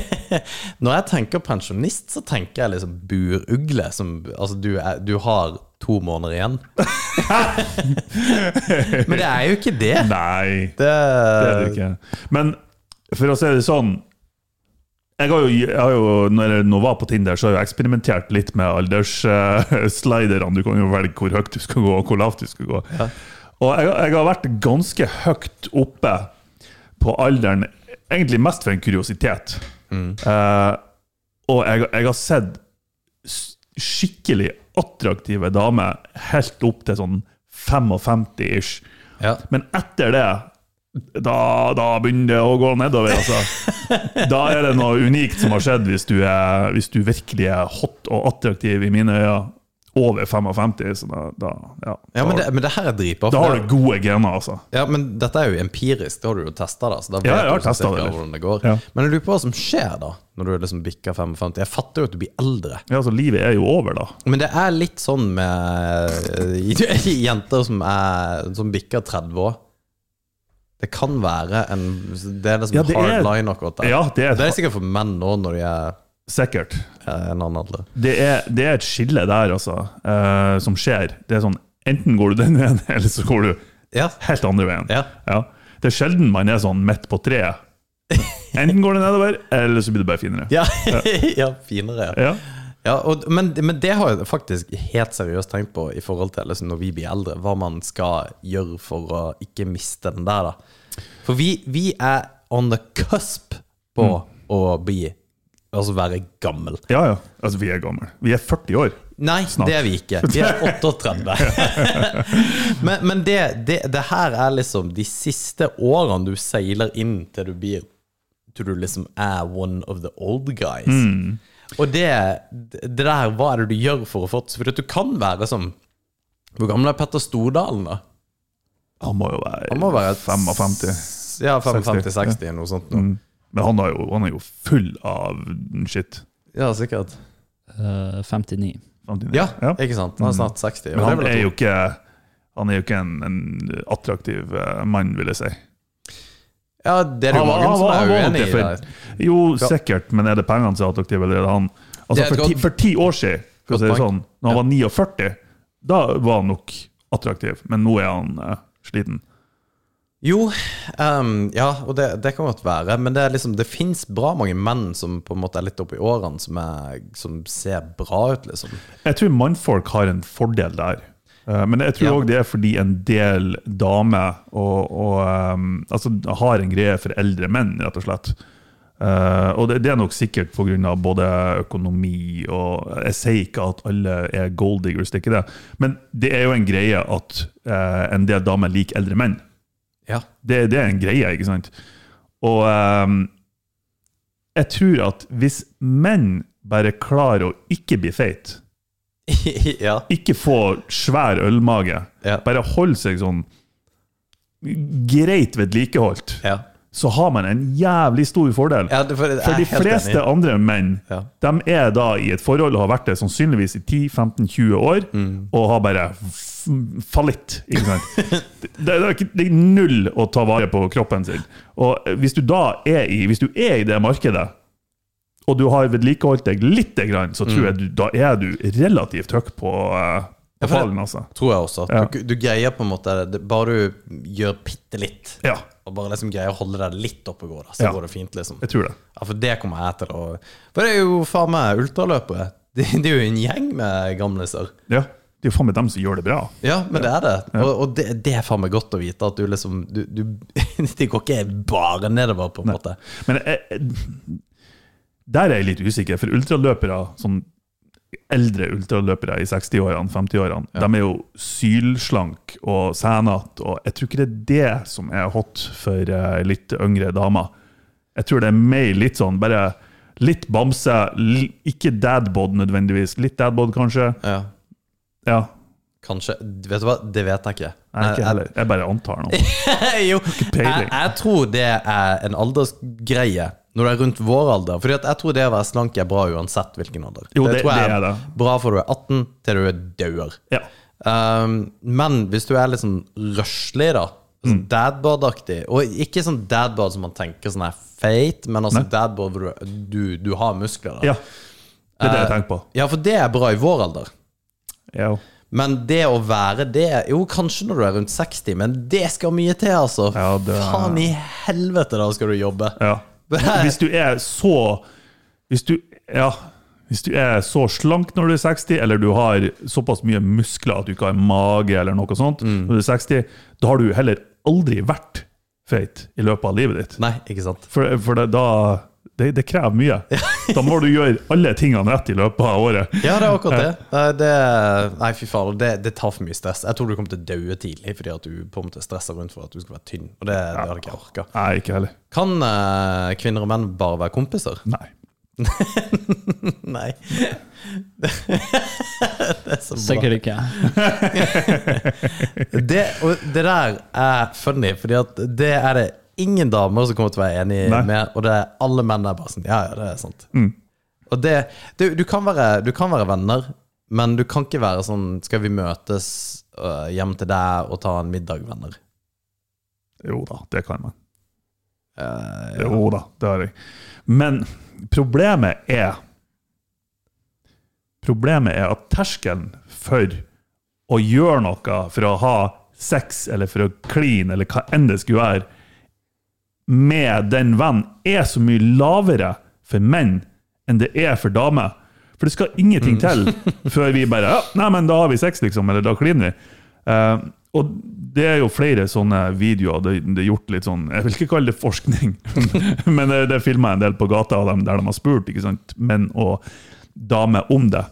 S2: når jeg tenker pensjonist, så tenker jeg liksom burugle. Som, altså, du, er, du har to måneder igjen. Men det er jo ikke det.
S3: Nei.
S2: Det,
S3: Det er det ikke. Men for å si det sånn jeg har, jo, jeg har jo, Når jeg nå var på Tinder, så har jeg eksperimentert litt med alderssliderne. Du kan jo velge hvor høyt du skal gå, og hvor lavt du skal gå. Og jeg, jeg har vært ganske høyt oppe på alderen, egentlig mest for en kuriositet. Eh, og jeg, jeg har sett s- skikkelig attraktive damer helt opp til sånn 55-ish.
S2: Ja.
S3: Men etter det da, da begynner det å gå nedover, altså. Da er det noe unikt som har skjedd, hvis du, er, hvis du virkelig er hot og attraktiv i mine øyne. Over 55, så da, da ja.
S2: Ja, men
S3: da,
S2: det, men det her er dritbra.
S3: da
S2: for
S3: har
S2: det-
S3: du gode gener, altså.
S2: Ja, men dette er jo empirisk, da har du jo testa det. Så da vet
S3: Ja, jeg har
S2: du sånn
S3: testet det
S2: cirka
S3: litt.
S2: hvordan det går.
S3: Ja.
S2: Men jeg lurer på hva som skjer da, når du liksom bikker 55. Jeg fatter jo at du blir eldre,
S3: Ja, altså, Livet er jo over, da.
S2: men det er litt sånn med eh, jenter som, er, som bikker 30 år. Det kan være en Det er liksom
S3: Ja, det
S2: hard
S3: er-
S2: line akkurat der.
S3: Ja, det
S2: Det
S3: er
S2: er sikkert for menn nå når de er
S3: sikkert.
S2: eh, en annen alder.
S3: Det er, det er et skille der, altså, eh, som skjer. Det er sånn, Enten går du den veien, eller så går du
S2: Ja.
S3: helt andre veien.
S2: ja.
S3: Ja. Det er sjelden man er sånn midt på treet. Enten går det nedover, eller så blir det bare finere.
S2: Ja, ja finere. Ja.
S3: Ja.
S2: Ja, og, men, men det har jeg faktisk helt seriøst tenkt på i forhold til liksom, når vi blir eldre, hva man skal gjøre for å ikke miste den der, da. For vi, vi er on the cusp på å bli Altså være gammel.
S3: ja, ja. Altså, vi er gamle. Vi er 40 år.
S2: Nei, det er vi ikke. Vi er 38. men men det, det, det her er liksom de siste årene du seiler inn til du blir Til du liksom er one of the old guys.
S3: Mm.
S2: Og det, det der, hva er det du gjør for å få For du kan være som Hvor gammel er Petter Stordalen, da?
S3: Han må jo være,
S2: Han må være et-
S3: 55.
S2: Ja,
S3: 60, ja.
S2: 55-60, noe sånt. nå.
S3: Mm. Men han er, jo, han er jo full av shit.
S2: Ja, sikkert.
S4: Eh, 59.
S3: Samtidig.
S2: Ja,
S3: Ja. Mm.
S2: ikke sant? Han er snart 60.
S3: Men
S2: og det
S3: han
S2: vil jeg
S3: er
S2: tro.
S3: jo ikke, han er jo ikke en, en attraktiv eh, mann, vil jeg si.
S2: Ja, det er det jo
S3: Han-
S2: mange
S3: han-
S2: som
S3: han
S2: er uenig
S3: var
S2: i.
S3: nok
S2: Der.
S3: det for- Jo, sikkert, men er det pengene som er attraktive, eller er det han?
S2: Det
S3: Altså,
S2: er et
S3: for, ti,
S2: godt-
S3: for ti år siden, for å
S2: Godt
S3: si det
S2: poeng.
S3: sånn, når han var 49, da var han nok attraktiv, men nå er han eh, sliten.
S2: Jo, ehm, ja, og det, det kan godt være. Men det, er liksom, det fins bra mange menn som på en måte er litt oppi årene, som, er, som ser bra ut, liksom.
S3: Jeg tror mannfolk har en fordel der. Eh, Men jeg
S2: Ja.
S3: tror òg det er fordi en del damer og, og, eh, altså, har en greie for eldre menn, rett og slett. Eh, og det, det er nok sikkert pga. både økonomi og Jeg sier ikke at alle er gold diggers, det er ikke det. Men det er jo en greie at eh, en del damer liker eldre menn.
S2: Ja.
S3: Det, det er en greie, ikke sant? Og ehm, jeg tror at hvis menn bare klarer å ikke bli feit,
S2: ja.
S3: ikke få svær ølmage,
S2: Ja.
S3: bare holde seg sånn greit vedlikeholdt,
S2: Ja.
S3: så har man en jævlig stor fordel.
S2: ja det, for, jeg er
S3: For de
S2: helt
S3: fleste
S2: enig.
S3: andre menn
S2: Ja.
S3: de er da i et forhold og har vært det sannsynligvis i 10-15-20 år,
S2: Mm.
S3: og har bare f- fallitt. ikke sant? det, det, er ikke, det er null å ta vare på kroppen sin. Og eh, hvis du da er i, hvis du er i det markedet, og du har vedlikeholdt deg lite grann, så
S2: Mm.
S3: tror jeg du, da er du relativt høy på, eh,
S2: Ja,
S3: på
S2: for det-
S3: pallen, altså.
S2: Tror jeg også.
S3: Ja.
S2: Du, du greier på en måte det, Bare du gjør bitte litt,
S3: Ja,
S2: og bare liksom greier å holde deg litt oppe og gå, da, så
S3: Ja.
S2: går det fint, liksom.
S3: jeg tror det.
S2: Ja, For det kommer jeg til å For det er jo faen meg ultraløpere. Det, det er jo en gjeng med gamliser.
S3: Ja. Det er jo faen meg dem som gjør det bra.
S2: Ja, men det er det. Og, og det, det er faen meg godt å vite at du liksom du, du, Det går ikke bare nedover, på en måte.
S3: Men jeg, jeg- der er jeg litt usikker, for ultraløpere, sånn eldre ultraløpere i 60-årene, 50-årene, de er jo sylslank og sænete, og jeg tror ikke det er det som er hot for eh, litt yngre damer. Jeg tror det er mer litt sånn, bare litt bamse, li- ikke dadbod nødvendigvis, litt dadbod kanskje.
S2: Ja,
S3: Ja,
S2: kanskje Vet du hva, det vet jeg ikke.
S3: Nei, ikke heller. Jeg bare antar noe.
S2: Jeg, jo, jeg,
S3: peiling.
S2: jeg tror det er en aldersgreie når du er rundt vår alder. Fordi at jeg tror det å være slank er bra uansett hvilken alder.
S3: Jo, det-
S2: tror jeg
S3: det er det.
S2: Bra fra du er 18 til du er dauer.
S3: Ja.
S2: Um, men hvis du er litt sånn røslig, da.
S3: Mm.
S2: Sånn Dadbod-aktig. Og ikke sånn dadbod som man tenker sånn er feit, men altså dadbod hvor du, du, du har muskler. da
S3: ja, det er det jeg tenker på.
S2: Ja, for det er bra i vår alder.
S3: Ja.
S2: Men det å være det Jo, kanskje når du er rundt 60, men det skal mye til, altså.
S3: Ja, det er-
S2: Faen i helvete, da skal du jobbe.
S3: Ja. Hvis du er så Hvis du Ja. Hvis du er så slank når du er 60, eller du har såpass mye muskler at du ikke har mage, eller noe sånt, når du er 60, da har du heller aldri vært feit i løpet av livet ditt.
S2: Nei, ikke sant.
S3: For, for det, da, Det, det krever mye. Da må du gjøre alle tingene rett i løpet av året.
S2: Ja, det er akkurat det. Nei, det nei, fy faen, det, det tar for mye stress. Jeg tror du kommer til å daue tidlig fordi at du på en måte stresser rundt for at du skal være tynn. Og det, det hadde ikke jeg orka.
S3: Nei, ikke heller.
S2: Kan eh, kvinner og menn bare være kompiser?
S3: Nei.
S2: Nei. det er så bra.
S4: Sikkert ikke.
S2: Det, og det der er funny, fordi at det er det ingen damer som kommer til å være enig
S3: Nei.
S2: med, og det er alle menn er bare sånn Ja, ja, det er sant. Og det, det du, kan være, du kan være venner, men du kan ikke være sånn Skal vi møtes øh, hjem til deg og ta en middag, venner?
S3: Jo da, det kan man.
S2: Eh,
S3: Jo da, det har jeg. Men problemet er Problemet er at terskelen for å gjøre noe, for å ha sex eller for å kline eller hva enn det skulle være, med den vennen er så mye lavere for menn enn det er for damer. For det skal ingenting til før vi bare ja, 'Nei, men da har vi sex', liksom. Eller da kliner vi. Eh, og det er jo flere sånne videoer det, det er gjort litt sånn Jeg vil ikke kalle det forskning, men det, det filma en del på gata av dem der de har spurt ikke sant, menn og damer om det.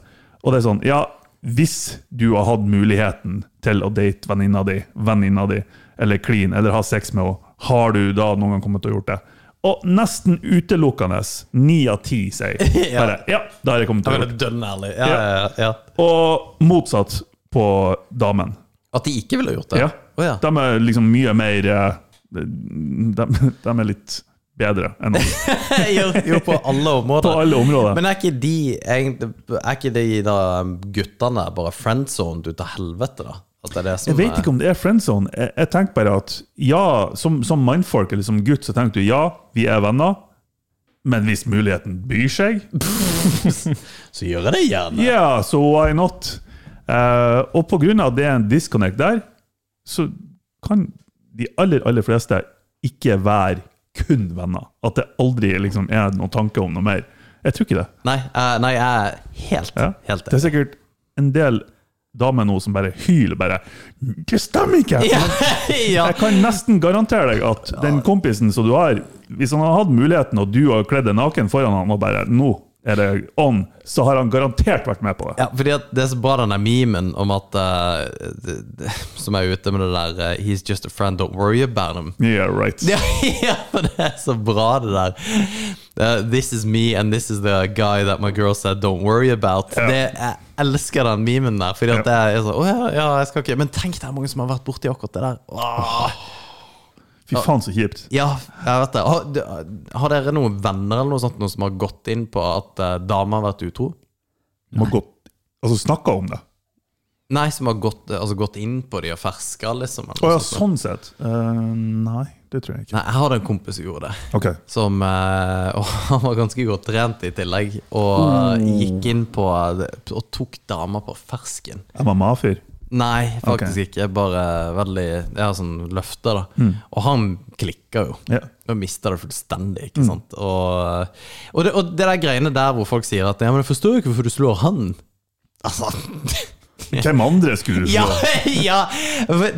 S3: Og det er sånn Ja, hvis du har hatt muligheten til å date venninna di, venninna di, eller clean, eller ha sex med henne, har du da noen gang kommet til å gjort det? Og nesten utelukkende ni av ti sier
S2: Ja.
S3: bare ja, da har jeg kommet
S2: Jeg
S3: til å
S2: mener
S3: gjort det.
S2: dønn ærlig. Ja, ja, ja, ja.
S3: Og motsatt på damen.
S2: At de ikke ville gjort det?
S3: Ja.
S2: Å, ja.
S3: De er liksom mye mer eh, De, de er litt bedre enn oss
S2: jo, jo, på alle områder.
S3: på alle områder.
S2: Men er ikke de, egentlig, er ikke de da guttene bare friendzoned ut av helvete, da? At det er det som
S3: Jeg vet ikke om det er friendzone. Jeg, jeg tenker bare at ja, som, som mannfolk eller som gutt, så tenker du ja, vi er venner, men hvis muligheten byr seg,
S2: Så gjør jeg det gjerne.
S3: ja, så why not? Eh, og på grunn av at det er en disconnect der, så kan de aller, aller fleste ikke være kun venner. At det aldri liksom er noen tanke om noe mer. Jeg tror ikke det.
S2: Nei, eh, nei, jeg er helt,
S3: Ja.
S2: helt
S3: Det er sikkert en del damer nå som bare hyler bare Det stemmer ikke!
S2: ja, ja.
S3: Jeg kan nesten garantere deg at den kompisen som du har, hvis han har hatt muligheten, og du har kledd deg naken foran han og bare Nå er det on! Så har han garantert vært med på det.
S2: ja, fordi at det er så bra den der memen om at eh, det- det- Som er ute med det der eh, 'He's just a friend, don't worry about him'.
S3: Yeah, right.
S2: Ja, ja, for det er så bra, det der. Eh, 'This is me, and this is the guy that my girl said don't worry about'. Det, jeg elsker den memen der. Fordi at det er sånn, å ja, ja, jeg skal ikke Men tenk, det er mange som har vært borti akkurat det der. Åh.
S3: Fy faen, så kjipt.
S2: Ja, jeg vet det. Har, d- har dere noen venner eller noe sånt noen som har gått inn på at eh, damer har vært utro?
S3: Må godt Altså snakka om det.
S2: Nei, som har gått, altså, gått inn på de og ferska, liksom. eller
S3: Å
S2: noe
S3: ja,
S2: sånt.
S3: sånn sett. Eh, nei, det tror jeg ikke.
S2: Nei, jeg hadde en kompis som gjorde det.
S3: Ok.
S2: Som, eh, og han var ganske godt trent i tillegg, og
S3: Mm.
S2: gikk inn på det- og tok damer på fersken.
S3: MMA-fyr.
S2: Nei, faktisk
S3: Ok. Mm.
S2: ikke. Bare veldig ja, sånn løfter, da. Og han klikka jo.
S3: Ja. Mm.
S2: Da mister det fullstendig, ikke sant. Og, og, det, og det der greiene der hvor folk sier at Ja, men jeg forstår jo ikke hvorfor du slår han. Altså
S3: Hvem andre skulle du
S2: Ja!
S3: slå?
S2: ja.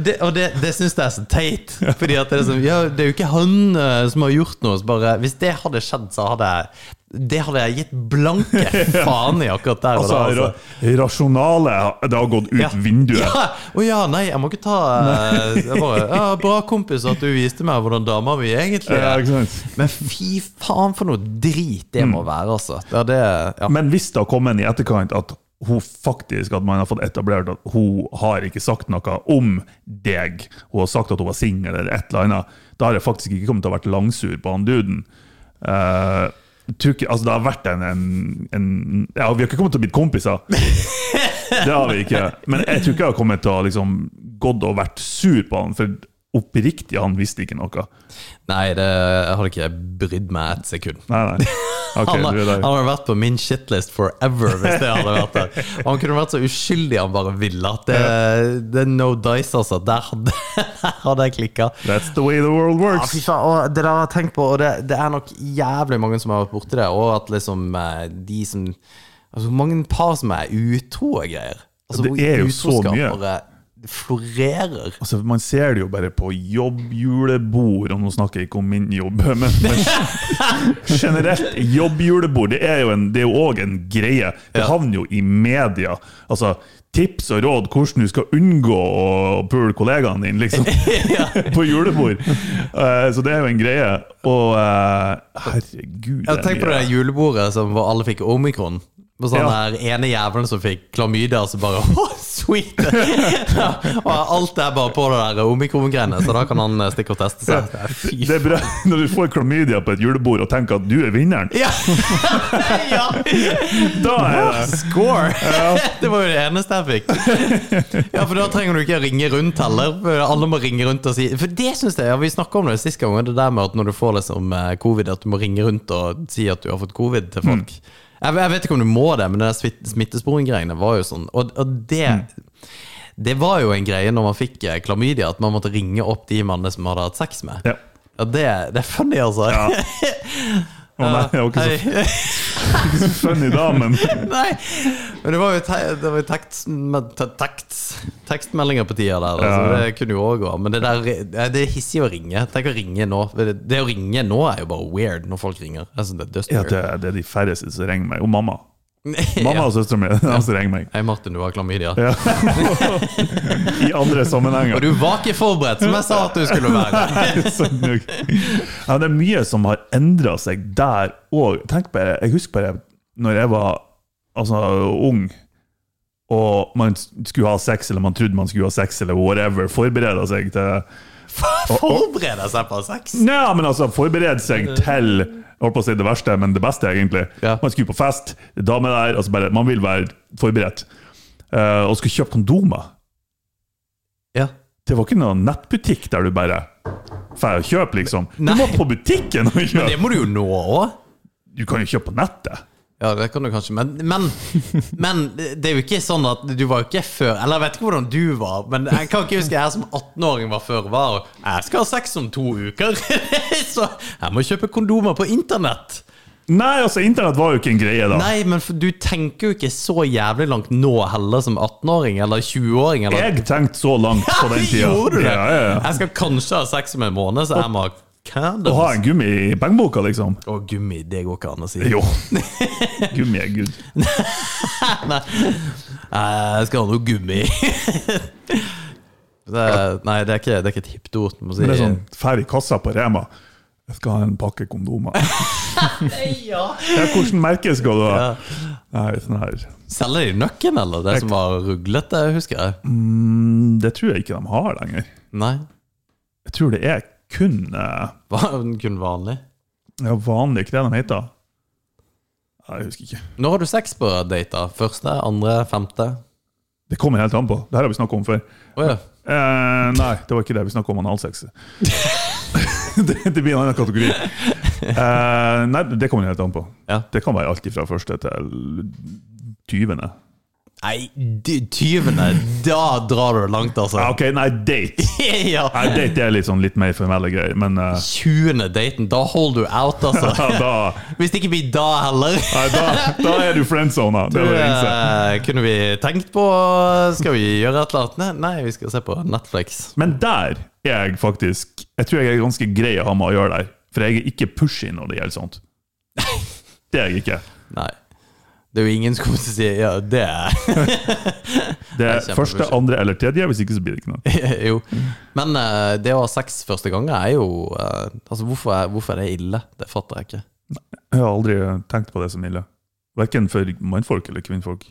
S2: Det, og det, det syns jeg er så teit. Fordi at det er sånn Ja, det er jo ikke han eh, som har gjort noe. Så bare, hvis det hadde skjedd, så hadde jeg Det hadde jeg gitt blanke faen i akkurat der. og
S3: Altså,
S2: da,
S3: ra rasjonale Det har gått ut vinduet.
S2: ja. Å ja, nei, jeg må ikke ta eh, jeg bare, ja, Bra kompis at du viste meg hvordan dama mi egentlig
S3: Ja,
S2: er.
S3: ikke sant? Mm.
S2: Men fy faen for noe drit det må være, altså. Ja, det, ja.
S3: Men hvis det har kommet inn i etterkant at hun faktisk, at man har fått etablert at hun har ikke sagt noe om deg, hun har sagt at hun var singel eller et eller annet, da har jeg faktisk ikke kommet til å vært langsur på han duden. Eh, jeg tror ikke, altså det har vært en, en, en Ja, vi har ikke kommet til å bli kompiser. Det har vi ikke. Men jeg tror ikke jeg har kommet til å liksom gått og vært sur på han, for oppriktig, han visste ikke noe.
S2: Nei, det jeg hadde ikke brydd meg et sekund.
S3: Nei, nei. Ok,
S2: han, har-
S3: du er
S2: han
S3: der.
S2: har vært på min shitlist forever, hvis det hadde vært det. Og han kunne vært så uskyldig han bare ville. At det, det er no dice, altså. Der hadde, der hadde jeg klikka.
S3: That's the way the world
S2: Ja,
S3: works.
S2: fy faen, og det der har jeg tenkt på, og det, det er nok jævlig mange som har vært borti det, og at liksom eh, de som Altså, hvor mange par som er utro og greier. Altså,
S3: Det
S2: hvor
S3: er jo så mye.
S2: utroskapere florerer.
S3: Altså, Man ser det jo bare på jobb, julebord, og nå snakker jeg ikke om min jobb, men, men generelt, jobb, julebord, det er jo en- det er jo òg en greie. Det
S2: Ja.
S3: havner jo i media. Altså, tips og råd hvordan du skal unngå å pule kollegaen din, liksom. på julebord. Eh, så det er jo en greie. Og eh, herregud
S2: Jeg Tenk på det
S3: mye.
S2: der julebordet som hvor alle fikk omikron. På sånn
S3: Ja.
S2: der ene jævelen som fikk klamydia, og så bare oh, sweet! ja, og alt er bare på det der omikron-greiene, så da kan han eh, stikke og teste seg. Fy
S3: Det er bra når du får klamydia på et julebord og tenker at du er vinneren.
S2: Ja! ja.
S3: Da er det
S2: Score! Det var jo det eneste jeg fikk. Ja, For da trenger du ikke ringe rundt heller. For alle må ringe rundt og si For det synes jeg, ja, Vi snakka om det sist gang, og det der med at når du får liksom eh, covid, at du må ringe rundt og si at du har fått covid til folk.
S3: Mm.
S2: Jeg, jeg vet ikke om du må det, men det der smitt- smittesporing-greiene var jo sånn. Og, og det
S3: Mm.
S2: Det var jo en greie når man fikk eh, klamydia, at man måtte ringe opp de mannene som hadde hatt sex med.
S3: Ja.
S2: Ja, det, det er funny, altså.
S3: Ja. Å nei, det var ikke så
S2: Hei.
S3: funny da, men
S2: Nei, men det var jo, te det var jo tekst, men te tekst, tekstmeldinger på tida der. Altså,
S3: Ja.
S2: Det kunne jo òg gå. Men det, der, nei, det er hissig å ringe. Tenk å ringe nå. Det, det å ringe nå er jo bare weird, når folk ringer. Altså, det er dust
S3: Ja,
S2: weird.
S3: det, det er de færreste som ringer meg. Og mamma. Mamma
S2: Ja.
S3: og søstera mi er de som ringer meg.
S2: Hei, Martin, du har klamydia.
S3: Ja. I andre
S2: Og
S3: sammenhenger.
S2: du var ikke forberedt, som jeg sa at du skulle være.
S3: Sånn nok. ja, det er mye som har endra seg der òg. Jeg husker bare når jeg var altså, ung, og man skulle ha sex, eller man trodde man skulle ha sex, eller whatever, forbereda seg til
S2: Forberede seg på sex!
S3: Nei, men altså, forberede seg til jeg holdt på å si det verste, men det beste, egentlig.
S2: Ja.
S3: Man skulle på fest, det er dame der altså bare, Man vil være forberedt. Eh, og skulle kjøpe kondomer.
S2: Ja.
S3: Det var ikke noen nettbutikk der du bare får kjøpe, liksom.
S2: Nei.
S3: Du må på butikken og
S2: Det
S3: kjøpe!
S2: må du jo nå òg.
S3: Du kan jo kjøpe på nettet.
S2: Ja, det kan du kanskje, men, men, men det er jo ikke sånn at du var jo ikke før Eller jeg vet ikke hvordan du var, men jeg kan ikke huske jeg som 18-åring var før var og Jeg skal ha sex om to uker, så jeg må kjøpe kondomer på internett.
S3: Nei, altså, internett var jo ikke en greie da.
S2: Nei, men for du tenker jo ikke så jævlig langt nå heller som 18-åring eller 20-åring. Eller...
S3: Jeg tenkte så langt på den tida.
S2: Gjorde du det?
S3: Ja, ja, ja.
S2: Jeg skal kanskje ha sex om en måned, så jeg må ha
S3: Å ha en
S2: condoms.
S3: gummi i pengeboka, liksom.
S2: Og gummi, det går ikke an å si.
S3: Jo. Gummi er gud.
S2: Nei. Eh, Jeg skal ha noe gummi. Det er, nei, det er, ikke, det er ikke et hipt ord. Må si.
S3: Men det er sånn, fær i kassa på Rema. Jeg skal ha en pakke kondomer. ja, hvordan merke skal du ha? Nei, sånn her.
S2: Selger de nøkken, eller? Det som var ruglete, husker jeg.
S3: Mm, det tror jeg ikke de har lenger.
S2: Nei.
S3: Jeg tror det er kun eh,
S2: Var den kun vanlig?
S3: ja, vanlig hva de heter. Nei, Jeg husker ikke.
S2: Når har du sex på date? da? Første, andre, femte?
S3: Det kommer helt an på. Det her har vi snakket om før.
S2: Å ja.
S3: Eh, nei, det var ikke det vi snakket om analsex. det, det blir en annen kategori. Eh, nei, det kommer helt an på.
S2: Ja.
S3: Det kan være alt fra første til tyvende.
S2: Nei, de- tyvene! Da drar du det langt, altså.
S3: Ja, ok, nei, date.
S2: ja.
S3: Nei, date er litt, sånn, litt mer formelle greier, men eh,
S2: 20. daten, da holder du out, altså.
S3: ja, da,
S2: Hvis det ikke blir da heller.
S3: nei, da, da er du friendzona. Det er det eneste.
S2: Eh, kunne vi tenkt på Skal vi gjøre et eller annet? Nei, nei, vi skal se på Netflix.
S3: Men der er jeg faktisk Jeg tror jeg er ganske grei å ha med å gjøre der, for jeg er ikke pushy når det gjelder sånt. Det er jeg ikke.
S2: Nei. Det er jo ingen som kommer til å si ja, det er
S3: Det
S2: Jeg er
S3: er
S2: kjempepushy.
S3: første, andre eller tredje, hvis ikke så blir det ikke noe.
S2: Jo. Men eh, det å ha sex første gang er jo eh, Altså, hvorfor er, hvorfor er det ille? Det fatter jeg ikke.
S3: Jeg har aldri tenkt på det som ille. Verken for mannfolk eller kvinnfolk.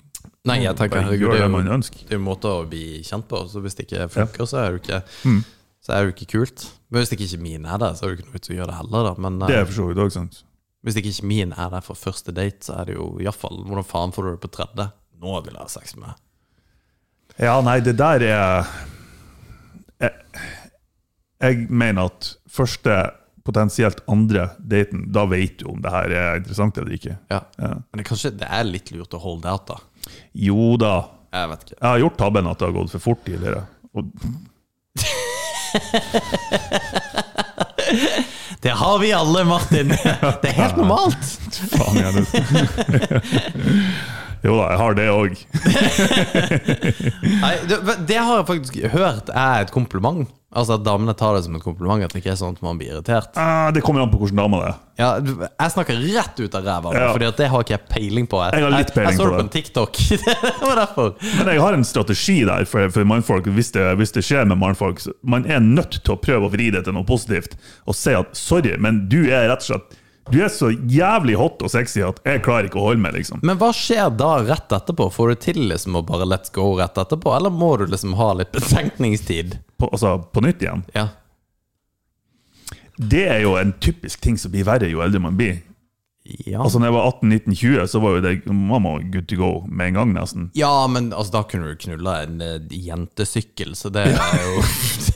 S2: Nei, jeg tenker
S3: Mm. Bare
S2: herregud,
S3: gjør
S2: det er
S3: det
S2: jo
S3: man ønsker.
S2: det er jo måter å bli kjent på, så hvis det ikke funker, så er det jo ikke
S3: Mm.
S2: Så er det jo ikke kult. Men hvis det ikke min er der, så er det jo ikke noe vits i å gjøre det heller, da. Men eh,
S3: Det er for så vidt òg sant.
S2: hvis det ikke min er der for første date, så er det jo iallfall Hvordan faen får du det på tredje? Nå vil jeg ha sex med deg.
S3: Ja, nei, det der er Jeg, jeg mener at første, potensielt andre daten, da vet du om det her er interessant eller ikke.
S2: Ja.
S3: Ja.
S2: Men det, er kanskje, det er litt lurt å holde out, da.
S3: Jo da.
S2: Jeg vet ikke.
S3: Jeg har gjort tabben at det har gått for fort tidligere. Og
S2: Det har vi alle, Martin! Det er helt normalt!
S3: faen, Jens. Jo da, jeg har det òg.
S2: Nei, det, det har jeg faktisk hørt er et kompliment. Altså At damene tar det som et kompliment. At det ikke er sånn at man blir irritert.
S3: Ah, det kommer an på hvordan dame det er.
S2: Ja, du- jeg snakker rett ut av ræva, nå,
S3: Ja.
S2: Fordi at det har ikke jeg peiling på.
S3: Jeg har litt
S2: jeg,
S3: peiling
S2: jeg så det
S3: på
S2: på en TikTok. det var derfor.
S3: Men jeg har en strategi der for, for mannfolk. Hvis det, hvis det skjer med mannfolk, så man er nødt til å prøve å vri det til noe positivt og si at sorry, men du er rett og slett Du er så jævlig hot og sexy at jeg klarer ikke å holde meg, liksom.
S2: Men hva skjer da rett etterpå? Får du til liksom å bare let's go rett etterpå, eller må du liksom ha litt betenkningstid?
S3: På, altså, på nytt igjen.
S2: Ja.
S3: Det er jo en typisk ting som blir verre jo eldre man blir.
S2: Ja.
S3: Altså, når jeg var 18-19-20, så var jo det mamma good to go med en gang, nesten.
S2: ja, men altså, da kunne du knulla en eh, jentesykkel, så det er jo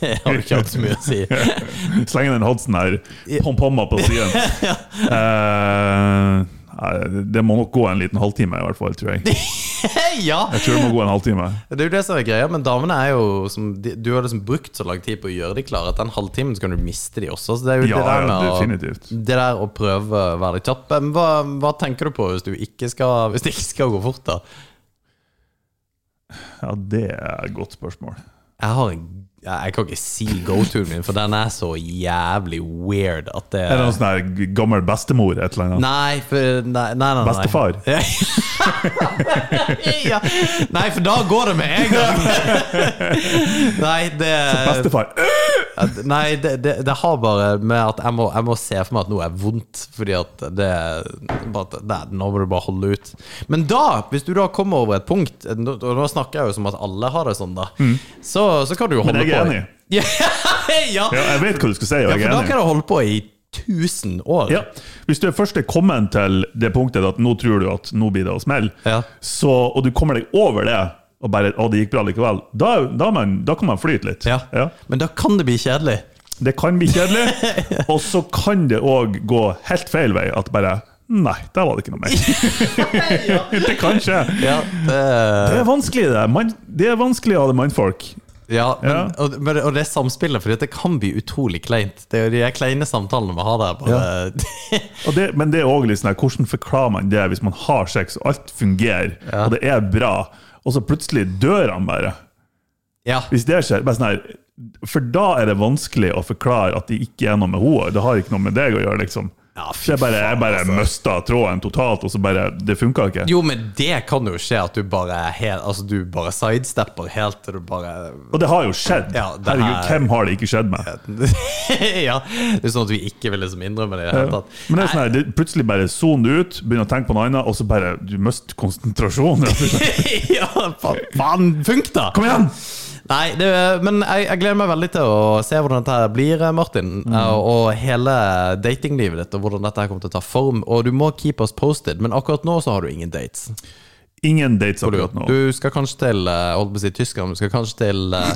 S2: Det har jo ikke hatt så mye å si.
S3: Slenge den hotsen her, pom-pomma på siden. Eh, nei, det må nok gå en liten halvtime, i hvert fall, tror jeg.
S2: ja!
S3: Jeg tror det må gå en halvtime.
S2: Det er jo det som er greia, men damene er jo som, de, Du har liksom brukt så lang tid på å gjøre de klare at den halvtimen så kan du miste de også. Så det er jo
S3: Ja,
S2: det der
S3: ja,
S2: med
S3: definitivt.
S2: å, det der å prøve å være litt kjapp. Men hva, hva tenker du på hvis, du ikke skal, hvis det ikke skal gå fort, da?
S3: Ja, det er et godt spørsmål.
S2: Jeg har en jeg kan ikke si go-to-en min, for den er så jævlig weird at det
S3: Er det noen sånn her g- gammel bestemor, et eller annet?
S2: Nei, for Nei, nei, nei. nei.
S3: Bestefar?
S2: ja. Nei, for da går det med en gang. nei, det
S3: Bestefar!
S2: At- Nei, det, det, det har bare med at jeg må, jeg må se for meg at noe er vondt. Fordi at det bare, at- nei, Nå må du bare holde ut. Men da, hvis du da kommer over et punkt Nå, og nå snakker jeg jo som at alle har det sånn, da. Så, så kan du jo
S3: Mm. Men
S2: holde på.
S3: jeg er enig.
S2: Ja, ja.
S3: Ja, jeg vet hva du skal si, og
S2: ja, for
S3: jeg
S2: da
S3: er
S2: kan
S3: enig.
S2: du holde på i 1000 år.
S3: Ja. Hvis du først er kommet til det punktet at nå tror du at nå blir det å smelle,
S2: Ja.
S3: så, og du kommer deg over det, og bare, å, det gikk bra likevel, da, da, er man, da kan man flyte litt.
S2: Ja.
S3: Ja.
S2: Men da kan det bli kjedelig.
S3: Det kan bli kjedelig, og så kan det òg gå helt feil vei. At bare Nei, der var det ikke noe mer. det kan skje.
S2: Ja,
S3: Det
S2: det,
S3: er vanskelig, det. Man, det er vanskelig av det mannfolk.
S2: ja, men,
S3: Ja.
S2: Og, men, og det samspillet, for det kan bli utrolig kleint. Det er jo de kleine samtalene vi har der. Bare,
S3: Og det, men det er også litt sånn her, hvordan forklarer man det hvis man har sex, og alt fungerer, og det er bra, og så plutselig dør han bare?
S2: ja.
S3: Hvis det skjer, bare sånn her, For da er det vanskelig å forklare at det ikke er noe med henne. Det har ikke noe med deg å gjøre, liksom.
S2: Ja, fy altså.
S3: Så jeg bare, jeg bare mista tråden totalt, og så bare Det funka ikke.
S2: Jo, men det kan jo skje at du bare, er helt, altså, du bare sidestepper helt til du bare
S3: Og det har jo skjedd.
S2: Ja, det
S3: Herregud,
S2: her-
S3: hvem har det ikke skjedd med?
S2: Ja. Det er sånn at vi ikke vil liksom innrømme det i det hele tatt.
S3: Men det er sånn her, det, plutselig bare son det ut, begynner å tenke på noe annet, og så bare Du mister konsentrasjonen.
S2: ja, faen, faen funk, da!
S3: Kom igjen!
S2: Nei, det, men jeg, jeg gleder meg veldig til å se hvordan dette her blir, eh, Martin.
S3: Mm.
S2: Og hele datinglivet ditt, og hvordan dette her kommer til å ta form. Og du må keep us posted, men akkurat nå så har du ingen dates.
S3: Ingen dates
S2: Du,
S3: akkurat nå.
S2: du skal kanskje til eh, holdt på å si Tyskland, du skal kanskje til, eh,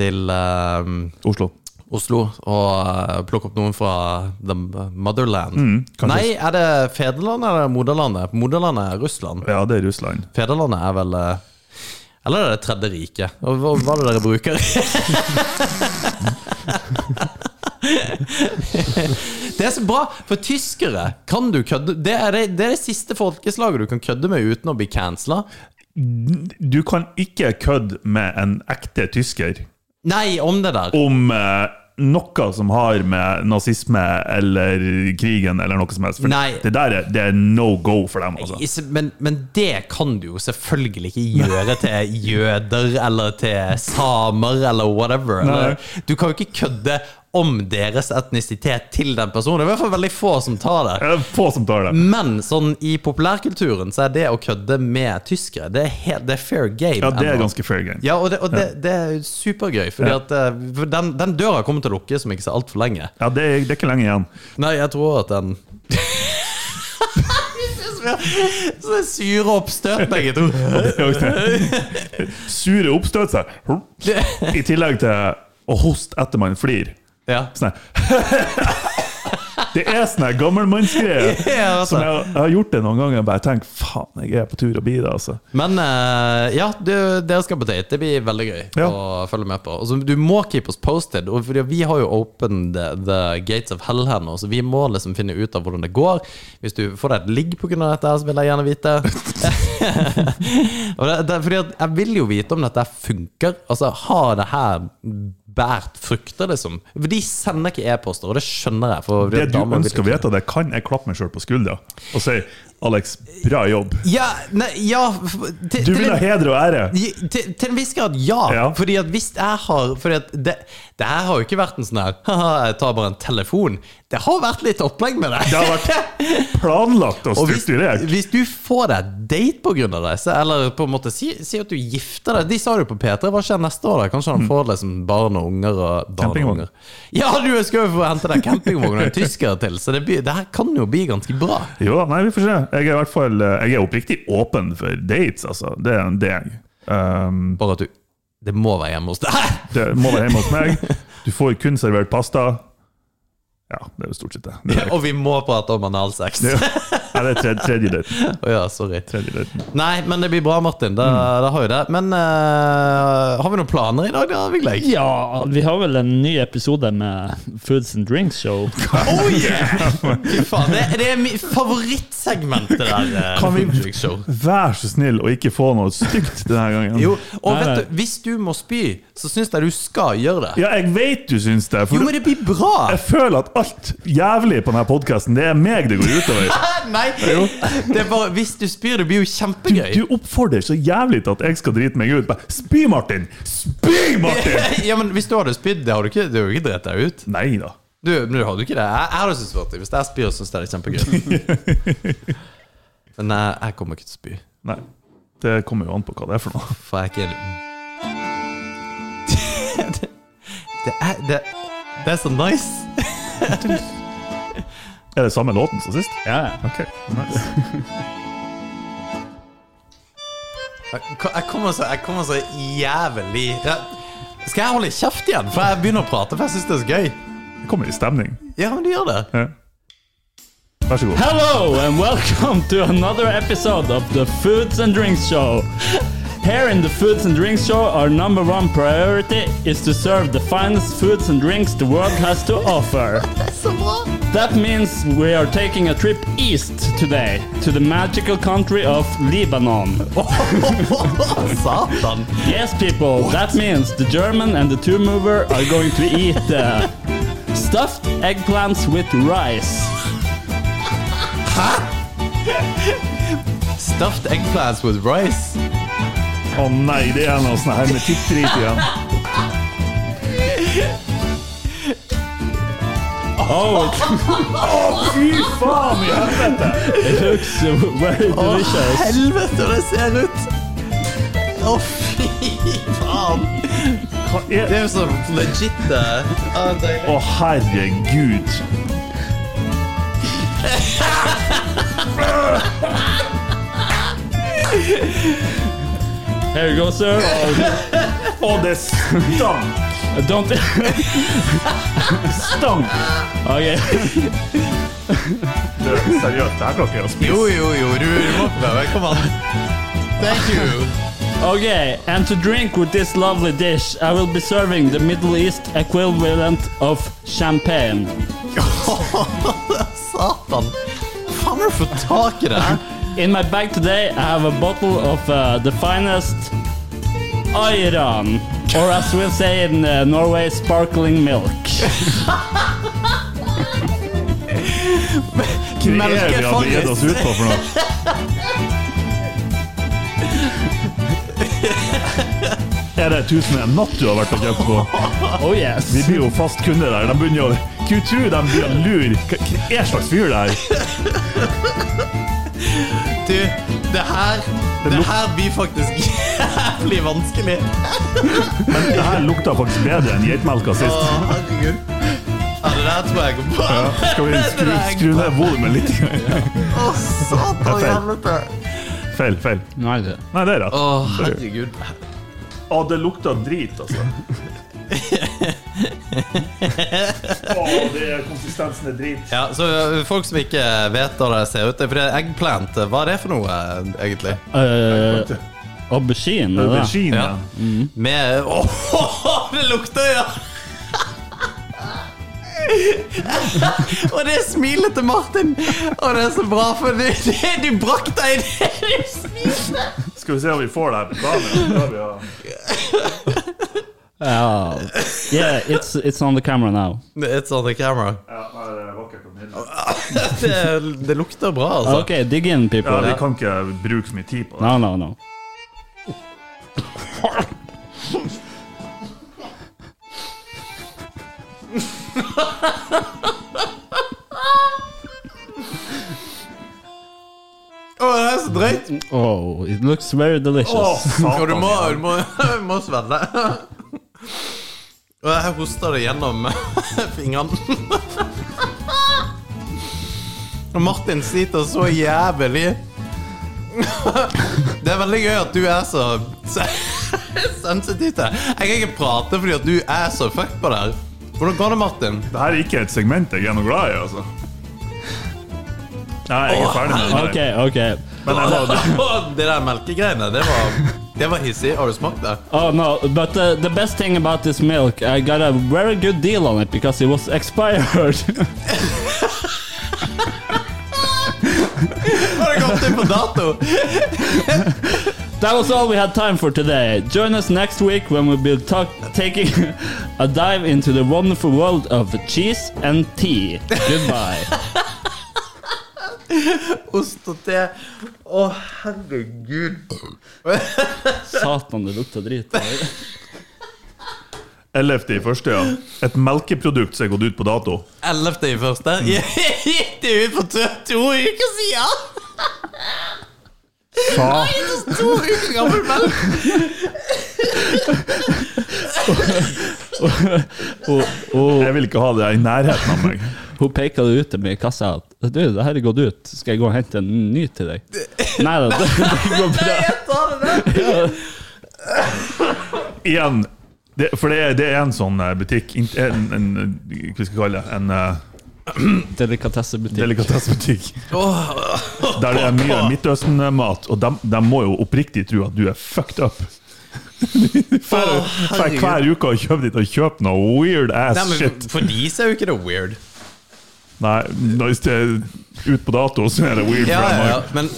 S2: til eh,
S3: Oslo.
S2: Oslo og eh, plukke opp noen fra the motherland. Nei, er det fedrelandet eller moderlandet? Moderlandet er Russland.
S3: Ja, det er Russland.
S2: Fedrelandet er vel eh, Eller er det Tredje riket? Og Hva, hva er det dere bruker? det er så bra, for tyskere kan du kødde Det er det, det, er det siste folkeslaget du kan kødde med uten å bli cancela.
S3: Du kan ikke kødde med en ekte tysker
S2: Nei, om det der.
S3: om eh, noe som har med nazisme eller krigen eller noe som helst. For
S2: Nei.
S3: Det der er, det er no go for dem. altså.
S2: Is- Men, men det kan du jo selvfølgelig ikke gjøre til jøder eller til samer eller whatever. Eller, du kan jo ikke kødde om deres etnisitet til den personen. Det er i hvert fall veldig få som tar det.
S3: Eh, Få som tar det.
S2: Men sånn i populærkulturen så er det å kødde med tyskere, det er, helt, det er fair game.
S3: Ja, det er
S2: ennå.
S3: ganske fair game.
S2: ja, og det, og det, det er supergøy, fordi at, eh, for den, den døra kommer til å lukke som ikke så altfor lenge.
S3: Ja, det, er, det er ikke lenge igjen.
S2: Nei, jeg tror at den Så det syre oppstøt, begge to.
S3: Sure oppstøt seg. I tillegg til å hoste etter man flir.
S2: Ja.
S3: Sånn her. Det er sånn her gammelmannsgreie.
S2: Ja, altså.
S3: Som jeg, jeg har gjort det noen ganger. Jeg bare tenker faen, jeg er på tur å bli det, altså.
S2: Men eh, ja, du, dere skal på date. Det blir veldig gøy
S3: Ja.
S2: å følge med på. Og så du må keep us posted, og fordi vi har jo opened the, the gates of hell her nå, så vi må liksom finne ut av hvordan det går. Hvis du får deg et ligg pga. dette, her, så vil jeg gjerne vite. Og det, det, er fordi at jeg vil jo vite om dette funker. Altså, Har det her båret frukter, liksom? For de sender ikke e-poster, og det skjønner jeg. For
S3: Det du
S2: damer vil
S3: ønsker å
S2: ikke-
S3: vite, det kan jeg klappe meg sjøl på skuldra og si Alex, bra jobb.
S2: Ja, nei, ja f- til,
S3: Du
S2: til
S3: vil ha
S2: en-
S3: heder og ære.
S2: Til, til en viss grad, ja.
S3: Ja.
S2: Fordi at hvis jeg har Fordi at det, det her har jo ikke vært en sånn her Haha, jeg tar bare en telefon. Det har vært litt opplegg med det.
S3: Det har vært planlagt og
S2: Og hvis,
S3: strukturert.
S2: hvis du får deg et date pga. det, så, eller på en måte si, si at du gifter deg De sa det jo på P3, hva skjer neste år? da? Kanskje han får liksom barn og unger og barn og
S3: Mm. Campingvogn.
S2: unger. Ja, du jeg skal jo få hente deg campingvogn og en tysker til, så det, blir- det her kan jo bli ganske bra.
S3: Jo da, nei, vi får se. Jeg er i hvert fall eh, Jeg er oppriktig åpen for dates, altså. Det er det er jeg. Um,
S2: Bare at du Det må være hjemme hos deg!
S3: det må være hjemme hos meg. Du får kun servert pasta. Ja, det er jo stort sett det. det, er,
S2: Og vi må prate om analsex.
S3: det, er, nei, det er tredje, tredje date.
S2: Å ja, sorry.
S3: Tredje date.
S2: Nei, men det blir bra, Martin. Det, det har jo det. Men eh, har vi noen planer i dag, da, Vigleik?
S4: Ja, vi har vel en ny episode med Foods and Drinks Show.
S2: Oh yeah! Fy faen, det, det er mitt favorittsegment, det der. eh,
S3: Kan vi-
S2: Foodtruck Show.
S3: Vær så snill å ikke få noe stygt denne gangen.
S2: Jo, og
S4: Nei,
S2: vet du, hvis du må spy, så syns jeg du skal gjøre det.
S3: Ja, jeg vet du syns det. For
S2: Jo, men det blir bra!
S3: jeg føler at alt jævlig på denne podkasten, det er meg det går utover.
S2: Nei, det er bare Hvis du spyr, det blir jo kjempegøy.
S3: Du oppfordrer så jævlig til at jeg skal drite meg ut. Bare, Spy, Martin! Spy, Martin!
S2: Ja, men Hvis du hadde spydd, det hadde du ikke, det hadde du ikke drept deg ut.
S3: Nei da.
S2: Du, men du hadde jo ikke det. Jeg, jeg hadde syntes det var artig. Hvis jeg spyr, syns jeg det er kjempegøy. Men jeg, jeg kommer ikke til å spy,
S3: Nei. Det kommer jo an på hva det er for noe.
S2: for jeg er ikke en det, det, er, det, det er så nice.
S3: Er det samme låten som sist?
S4: Ja,
S3: Ok, nice.
S2: Jeg, jeg, kommer, så, jeg kommer så jævlig ja. Skal jeg holde kjeft igjen? For jeg begynner å prate, for jeg syns det er så gøy.
S3: Jeg kommer i stemning.
S2: Ja, men du gjør det.
S3: Ja. Vær så god.
S4: Hello and welcome to another episode of the Foods and Drinks Show. Here in the Foods and Drinks Show, our number one priority is to serve the finest foods and drinks the world has to offer. That means we are taking a trip east today to the magical country of Lebanon.
S2: Satan.
S4: Yes, people, that means the German and the two mover are going to eat uh, stuffed eggplants with rice.
S2: Stuffed eggplants with rice.
S3: Å nei, det er noe sånn her med tittrit igjen.
S4: Oh, it,
S3: Fy faen i helvete!
S4: it looks uh, very delicious.
S2: Helvete, det ser ut! Å, fy faen!
S3: Hva er
S2: Det er jo så legit.
S3: Å, herregud.
S4: Here you go, sir. Oh,
S3: Å, det stank!
S4: don't.
S3: Stank!
S4: okay.
S3: Du, Seriøst, det her klarer ikke jeg å spise.
S2: Jo, jo, jo, du, du må prøve. Kom an. Thank you.
S4: Okay, and to drink with this lovely dish, I will be serving the Middle East equivalent of champagne.
S2: Satan. Faen, har du fått tak i det? her?
S4: In my bag today, I have a bottle of uh, the finest Ayran, or as we'll say in uh, Norway, sparkling milk.
S3: Hva er det vi hadde gitt oss ut på for noe? Er det tusen en natt du har vært og kjøpt på?
S4: Oh yes.
S3: Vi blir jo fast kunde der. De begynner å Hva tror de blir å lure? Hva hva er slags fyr det her?
S2: Du, det her Det her blir faktisk jævlig vanskelig.
S3: Men det her lukta faktisk bedre enn geitmelka
S2: Å,
S3: sist.
S2: herregud. Ja, det der tror jeg jeg går på.
S3: Ja, skal vi skru, skru ned volumet litt?
S2: Å, satan
S3: Det er feil.
S2: helvete.
S3: Feil, feil.
S4: Nei, det.
S3: Nei, det er rett.
S2: Å, herregud.
S3: Å, det lukta drit, altså. Å, det er konsistensen er drit.
S2: Ja, så ø, folk som ikke vet hva det ser ut til For det er eggplant, eh, hva er det for noe, ø, egentlig?
S4: Uh, aubergine, det da.
S3: Aubergine.
S2: Ja. Med Åh, det lukter, ja! Og det smilet til Martin! Og det er så bra, for det, det, du brakte inn det du smilte!
S3: Skal vi se om vi får det her betalt?
S4: Oh. Yeah, it's it's on the camera now.
S2: It's on the camera.
S3: Ja, nei, det er vakkert og nydelig.
S2: Det, det lukter bra, altså.
S4: Okay, dig in people.
S3: Ja, vi kan ikke bruke så mye tid på det.
S4: No, no, no.
S2: Å, det er så drøyt!
S4: Oh, it looks very delicious.
S3: Å,
S2: Og du
S3: satan.
S2: må,
S3: ja.
S2: du må, du må svelle. Og jeg hoster det gjennom fingrene. Og Martin sliter så jævlig. Det er veldig gøy at du er så se- sensitiv til det. Jeg kan ikke prate fordi at du er så fucked på det her. Hvordan går det, Martin?
S3: Det her er ikke et segment jeg er noe glad i, altså. Nei, jeg er ferdig med det. der.
S4: Okay, okay.
S3: Men jeg må,
S2: Å, Det der melkegreiene, det var, det var hissig. Har du smakt det?
S4: Oh no, but uh, the best thing about this milk, I got a very good deal on it because it was expired.
S2: Har det gått inn på dato?
S4: that was all we had time for today. Join us next week when we'll be talk- taking a dive into the wonderful world of cheese and tea. Goodbye.
S2: Ost og te. Å, herregud.
S4: Satan, det lukter drit.
S3: 11. i første, ja. Et melkeprodukt som er gått ut på dato.
S2: 11. i første. Gikk det ut for to, to uker siden?
S3: Sa
S2: To uker gammel melk.
S4: Hun, hun,
S3: Jeg vil ikke ha det i nærheten av meg.
S4: hun peker det ut til meg i kassa at du, det her er gått ut, skal jeg gå og hente en ny til deg? Nei da, det, det går bra.
S2: Jeg tar det der.
S3: Igjen. Det, for det er, det er en sånn eh, butikk in- en, en, Hva skal vi kalle det? En eh,
S4: Delikatessebutikk.
S3: delikatessebutikk.
S2: Åh,
S3: Der det er mye Midtøsten-mat, og de, må jo oppriktig tro at du er fucked up. Fær, fær hver uke og kjøper dit og kjøper noe weird ass
S2: Nei, men
S3: shit.
S2: For de så er jo ikke det weird.
S3: Nei, når det er ut på dato, så er det weird.
S2: Ja,
S3: for
S2: ja, ja.
S3: meg.
S2: Men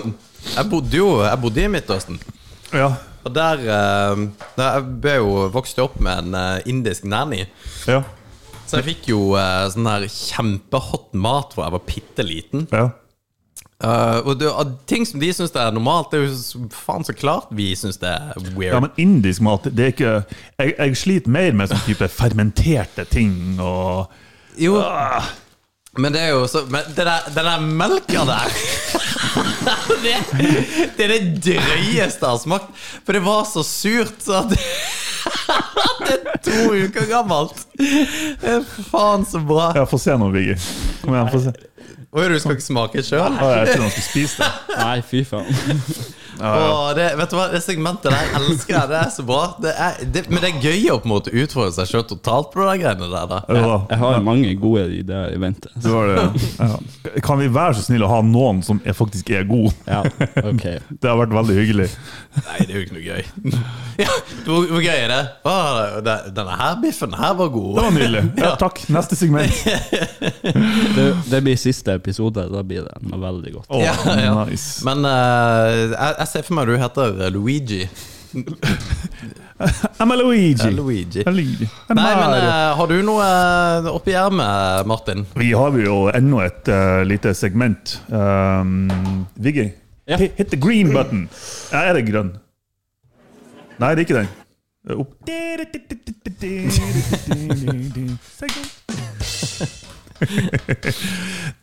S2: jeg bodde jo jeg bodde i Midtøsten.
S3: ja.
S2: Og der eh, da Jeg ble jo vokst opp med en eh, indisk nanny.
S3: ja.
S2: Så jeg fikk jo eh, sånn her kjempehot mat fra jeg var bitte liten.
S3: ja.
S2: Eh, og det, og ting som de syns er normalt, det er jo s- faen så klart vi syns det er weird.
S3: Ja, men indisk mat, det er ikke Jeg, jeg sliter mer med sånn type fermenterte ting og
S2: Jo, Ah. men det er jo så Men det der, den der melka der det, det er det drøyeste jeg har smakt. For det var så surt, så at at Det er to uker gammelt! Det er Faen, så bra.
S3: Ja, få se nå, Viggy. Kom igjen, få se.
S2: Oi, du skal ikke smake sjøl?
S3: Å, jeg trodde han skulle spise det.
S4: Nei, fy faen.
S2: Vet du hva, det segmentet der jeg elsker jeg. Det er så bra. Det er, det, men det er gøy å på en måte utfordre seg sjøl totalt på de greiene der. da
S3: Jo da.
S4: Jeg har mange gode ideer i vente.
S3: Det var det. Ja. Kan vi være så snill å ha noen som er, faktisk er god?
S4: Ja, ok.
S3: Det har vært veldig hyggelig.
S2: Nei, det er jo ikke noe gøy. Ja, hvor, hvor gøy er det? Å, det- denne her biffen her var god.
S3: Det var nydelig. Ja, takk. Neste segment.
S4: Det, det blir siste episode. Da blir det noe veldig godt.
S3: Å,
S2: Ja, ja.
S3: nice.
S2: Men eh, jeg, jeg ser for meg du heter Luigi.
S3: I'm a Luigi.
S2: Eh, Luigi.
S3: I'm Luigi. I'm
S2: Nei, men
S3: Mario.
S2: eh, har du noe eh, oppi ermet, Martin?
S3: Vi har jo enda et eh, lite segment. Um, Viggy,
S4: Ja.
S3: hit hit the green button. Ja, er det grønn? Nei, det er ikke den. Det er Opp.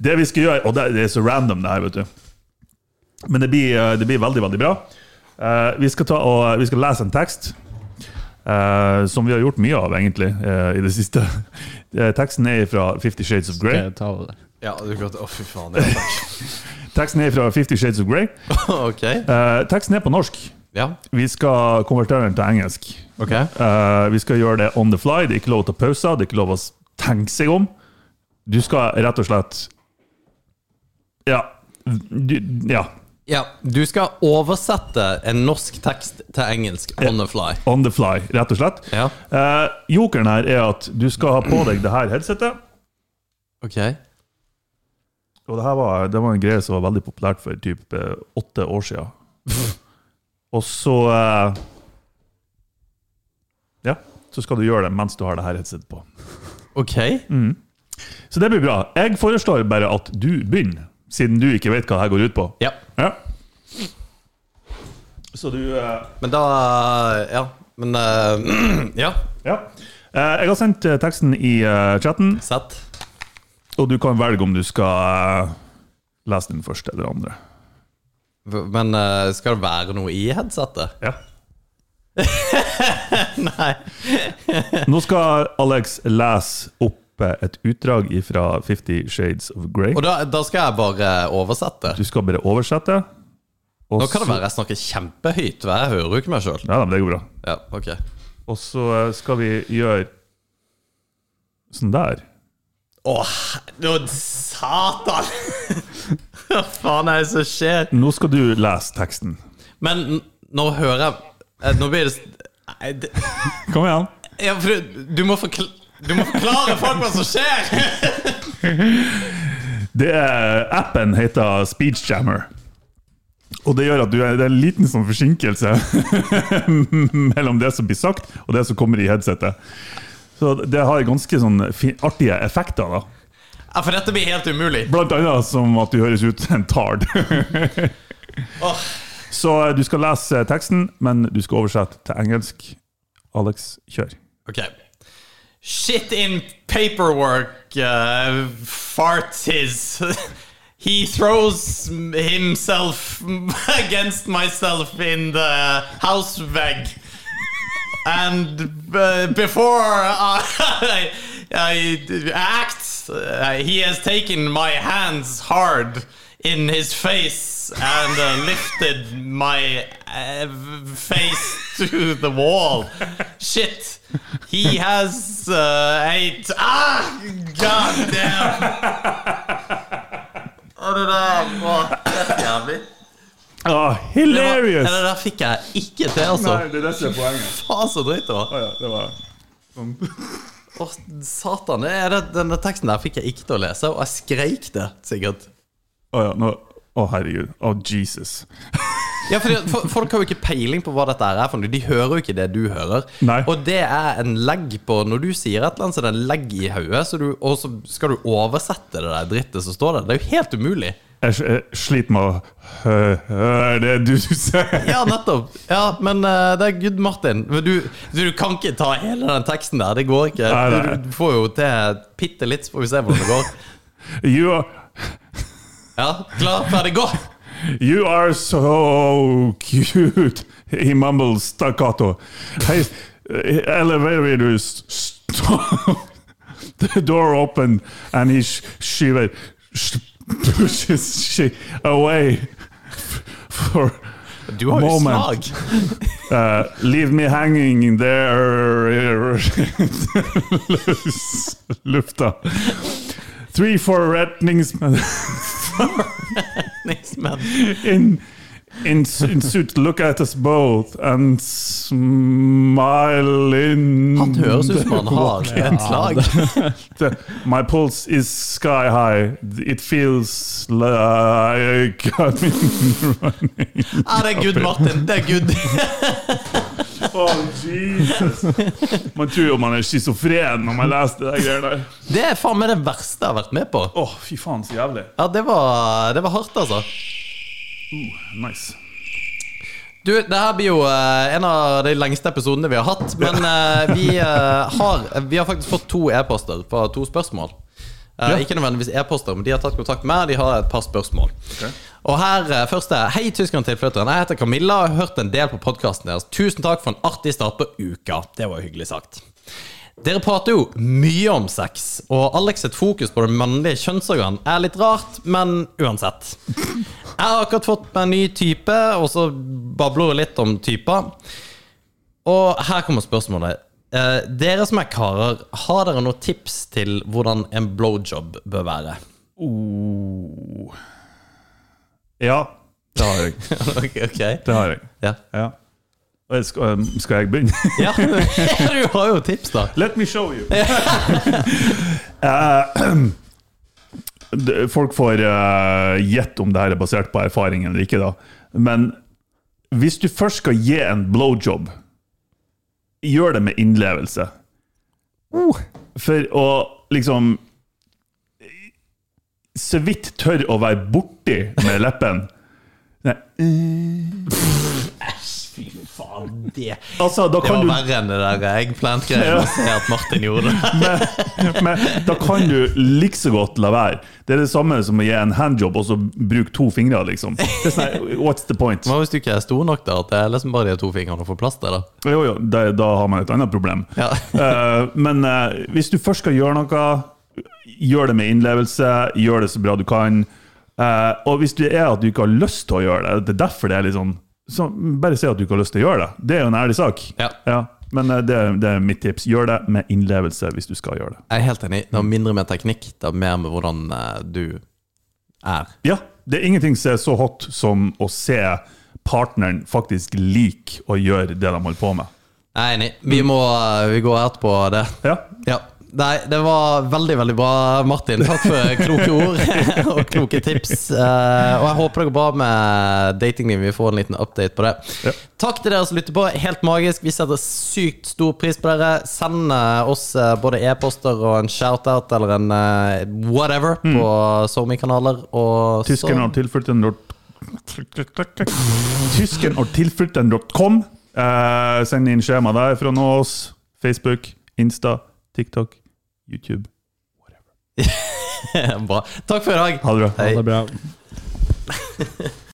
S3: Det vi skal gjøre Og det det er så random, det her, vet du. Men det blir, eh, det blir veldig, veldig bra. Eh, vi, skal ta og, vi skal lese en tekst. eh, som vi har gjort mye av, egentlig, eh, i det siste. Eh, teksten er fra Fifty Shades of Grey.
S4: Skal jeg ta det?
S2: Ja, du kan Å, fy faen. det er takk.
S3: Teksten er fra Fifty Shades of Grey.
S2: ok.
S3: Eh, teksten er på norsk.
S2: Ja.
S3: Vi skal konvertere den til engelsk.
S2: ok
S3: Eh, vi skal gjøre det on the fly. Det er ikke lov til å ta pauser. Det er ikke lov å s- tenke seg om. Du skal rett og slett Ja. Du, ja.
S2: Ja, Du skal oversette en norsk tekst til engelsk on the fly.
S3: On the fly, rett og slett.
S2: Ja.
S3: Eh, jokeren her er at du skal ha på deg det her headsetet.
S2: Ok.
S3: Og det her var, det var en greie som var veldig populært for typ eh, åtte år siden. og så eh, Ja, så skal du gjøre det mens du har det her headsetet på.
S2: Ok.
S3: Mm. Så det blir bra. Jeg foreslår bare at du begynner, siden du ikke vet hva det her går ut på.
S2: Ja.
S3: Ja. Så du eh,
S2: Men da Ja. Men eh, Ja.
S3: Ja. Eh, Jeg har sendt eh, teksten i eh, chatten,
S2: Sett.
S3: og du kan velge om du skal eh, lese den første eller andre.
S2: Men eh, skal det være noe i headsetet?
S3: Ja.
S2: Nei.
S3: Nå skal Alex lese opp eh, et utdrag fra Fifty Shades of Grey.
S2: Og da, da skal jeg bare oversette.
S3: Du skal bare oversette. og
S2: Nå kan det
S3: så-
S2: være jeg snakker kjempehøyt, for jeg hører jo ikke meg sjøl.
S3: Ja, men det går bra.
S2: Ja, ok.
S3: Og så eh, skal vi gjøre sånn der.
S2: Åh, nå, satan! Hva faen er det som skjer?
S3: Nå skal du lese teksten.
S2: Men n- nå hører jeg eh, Nå blir det s- Nei, det
S3: Kom igjen.
S2: ja, for du, du, må forkl- du må forklare folk hva som skjer!
S3: Det er, appen heter Speechjammer. Og det gjør at du, er- det er en liten sånn forsinkelse mellom det som blir sagt, og det som kommer i headsetet. Så det har ganske sånn fi- artige effekter, da.
S2: Ja, For dette blir helt umulig.
S3: Blant annet som at du høres ut som en tard.
S2: Åh,
S3: Så eh, du skal lese teksten, men du skal oversette til engelsk. Alex, kjør.
S2: ok. Shit in paperwork, uh, farts his He throws himself against myself in the house veg. and uh, before I, I act, uh, he has taken my hands hard in his face and uh, lifted my uh, face to the wall. Shit, he has uh, eight. Ah, goddamn! Og det der var helt jævlig.
S3: Ah,
S2: Det, var, det
S3: hilarious!
S2: der fikk jeg ikke til, altså.
S3: Nei, det er det som er poenget.
S2: Faen, så drøyt det var.
S3: Å ja, det var sånn.
S2: Å, satan. det er det, denne teksten der fikk jeg ikke til å lese, og jeg skreik det sikkert.
S3: Å ja, nå... Å, herregud. Å, Jesus.
S2: Ja, fordi, at fo- Folk har jo ikke peiling på hva dette her er, for noe. de hører jo ikke det du hører.
S3: Nei.
S2: Og det er en legg på Når du sier et eller annet, så er det en legg i hodet, så du- og så skal du oversette det der drittet som står der. Det er jo helt umulig.
S3: Jeg, s- jeg sliter med å hø- høre det du sier.
S2: Ja, nettopp. Ja, Men eh, det er good, Martin. Men du, du kan ikke ta hele den teksten der. Det går ikke.
S3: Nei, nei.
S2: Du, du får jo til bitte litt, så får vi se hvordan det går.
S3: You are,
S2: Ja, Klar, ferdig, gå!
S3: you are so cute, he mumbles staccato. Hey, uh, elevator is st- The door opened and he sh- shiver, sh- pushes she away for
S2: Du har jo
S3: Moment.
S2: slag.
S3: uh, leave me hanging there. Lufta. Three for threatening sm-
S2: Nismen.
S3: in in, s- in suit look at us both and smile in
S2: Han høres ut som han har et slag.
S3: the- my pulse is sky high it feels like I'm in running
S2: Ja, det er good, Martin. Det er good.
S3: oh Jesus man tror jo man er schizofren når man leser det der greiene der
S2: Det er faen meg det verste jeg har vært med på.
S3: åh fy faen så jævlig
S2: Ja, det var, det var hardt, altså.
S3: nice
S2: Du, det her blir jo eh, en av de lengste episodene vi har hatt. Men eh, vi, eh, har, vi har faktisk fått to e-poster på to spørsmål. Eh, Ikke nødvendigvis e-poster, men de har tatt kontakt med meg. De har et par spørsmål. Og her eh, først er Hei, tyskerne-tilflytteren. Jeg heter Camilla og har hørt en del på podkasten deres. Tusen takk for en artig start på uka. Det var hyggelig sagt. Dere prater jo mye om sex, og Alex sitt fokus på det mannlige kjønnsorgan er litt rart, men uansett. Jeg har akkurat fått meg en ny type, og så babler hun litt om typer. Og her kommer spørsmålet. Eh, dere som er karer, har dere noen tips til hvordan en blowjob bør være?
S3: ja det har jeg
S2: ok. ok.
S3: det har jeg
S2: Ja.
S3: ja Og jeg skal, um, skal jeg begynne
S2: ja, du har jo tips, da.
S3: Let me show you. d- Eh, Folk får eh, gjette om det her er basert på erfaring eller ikke, da. Men hvis du først skal gi en blowjob, gjør det med innlevelse. For å liksom Så vidt tør å være borti med leppen. Nei.
S2: Fy faen, det
S3: Altså, da
S2: Det
S3: kan
S2: var
S3: du
S2: verre enn det der eggplant-greiene å se at Martin gjorde.
S3: Men da kan du like så godt la være. Det er det samme som å gi en handjob og så bruke to fingre, liksom. Det er sånn, her, What's the point?
S2: Hva hvis du ikke er stor nok da, at det er liksom bare de to fingrene får plass til? da?
S3: Jo, jo, da, da har man et annet problem.
S2: Ja.
S3: Eh, men eh, hvis du først skal gjøre noe, gjør det med innlevelse, gjør det så bra du kan. Eh, og hvis det er at du ikke har lyst til å gjøre det, det er derfor det er litt sånn så Bare si at du ikke har lyst til å gjøre det. Det er jo en ærlig sak.
S2: Ja.
S3: men eh, det, er- det er mitt tips. Gjør det med innlevelse hvis du skal gjøre det.
S2: Jeg er helt enig. Det har mindre med teknikk, det har mer med hvordan eh, du er.
S3: Ja, det er ingenting som er så hot som å se partneren faktisk like å gjøre det de holder på med.
S2: Jeg er enig. Vi må eh, vi går etterpå det.
S3: Ja,
S2: Ja. Nei, det var veldig, veldig bra, Martin. Takk for kloke ord og kloke tips. Eh, og jeg håper det går bra med datinglivet. Vi får en liten update på det.
S3: Ja.
S2: Takk til dere som lytter på. Helt magisk. Vi setter sykt stor pris på dere. Send eh, oss eh, både e-poster og en shout-out eller en eh, whatever
S3: Mm.
S2: på SoMe-kanaler. Og så-
S3: Tysken har tilført en dot... Tysken har tilført en dot com. Eh, send inn skjema der for å nå oss. Facebook, Insta, TikTok, YouTube.
S2: Bra. Takk for i dag.
S3: Ha det bra.
S2: Hei.
S4: Det er bra.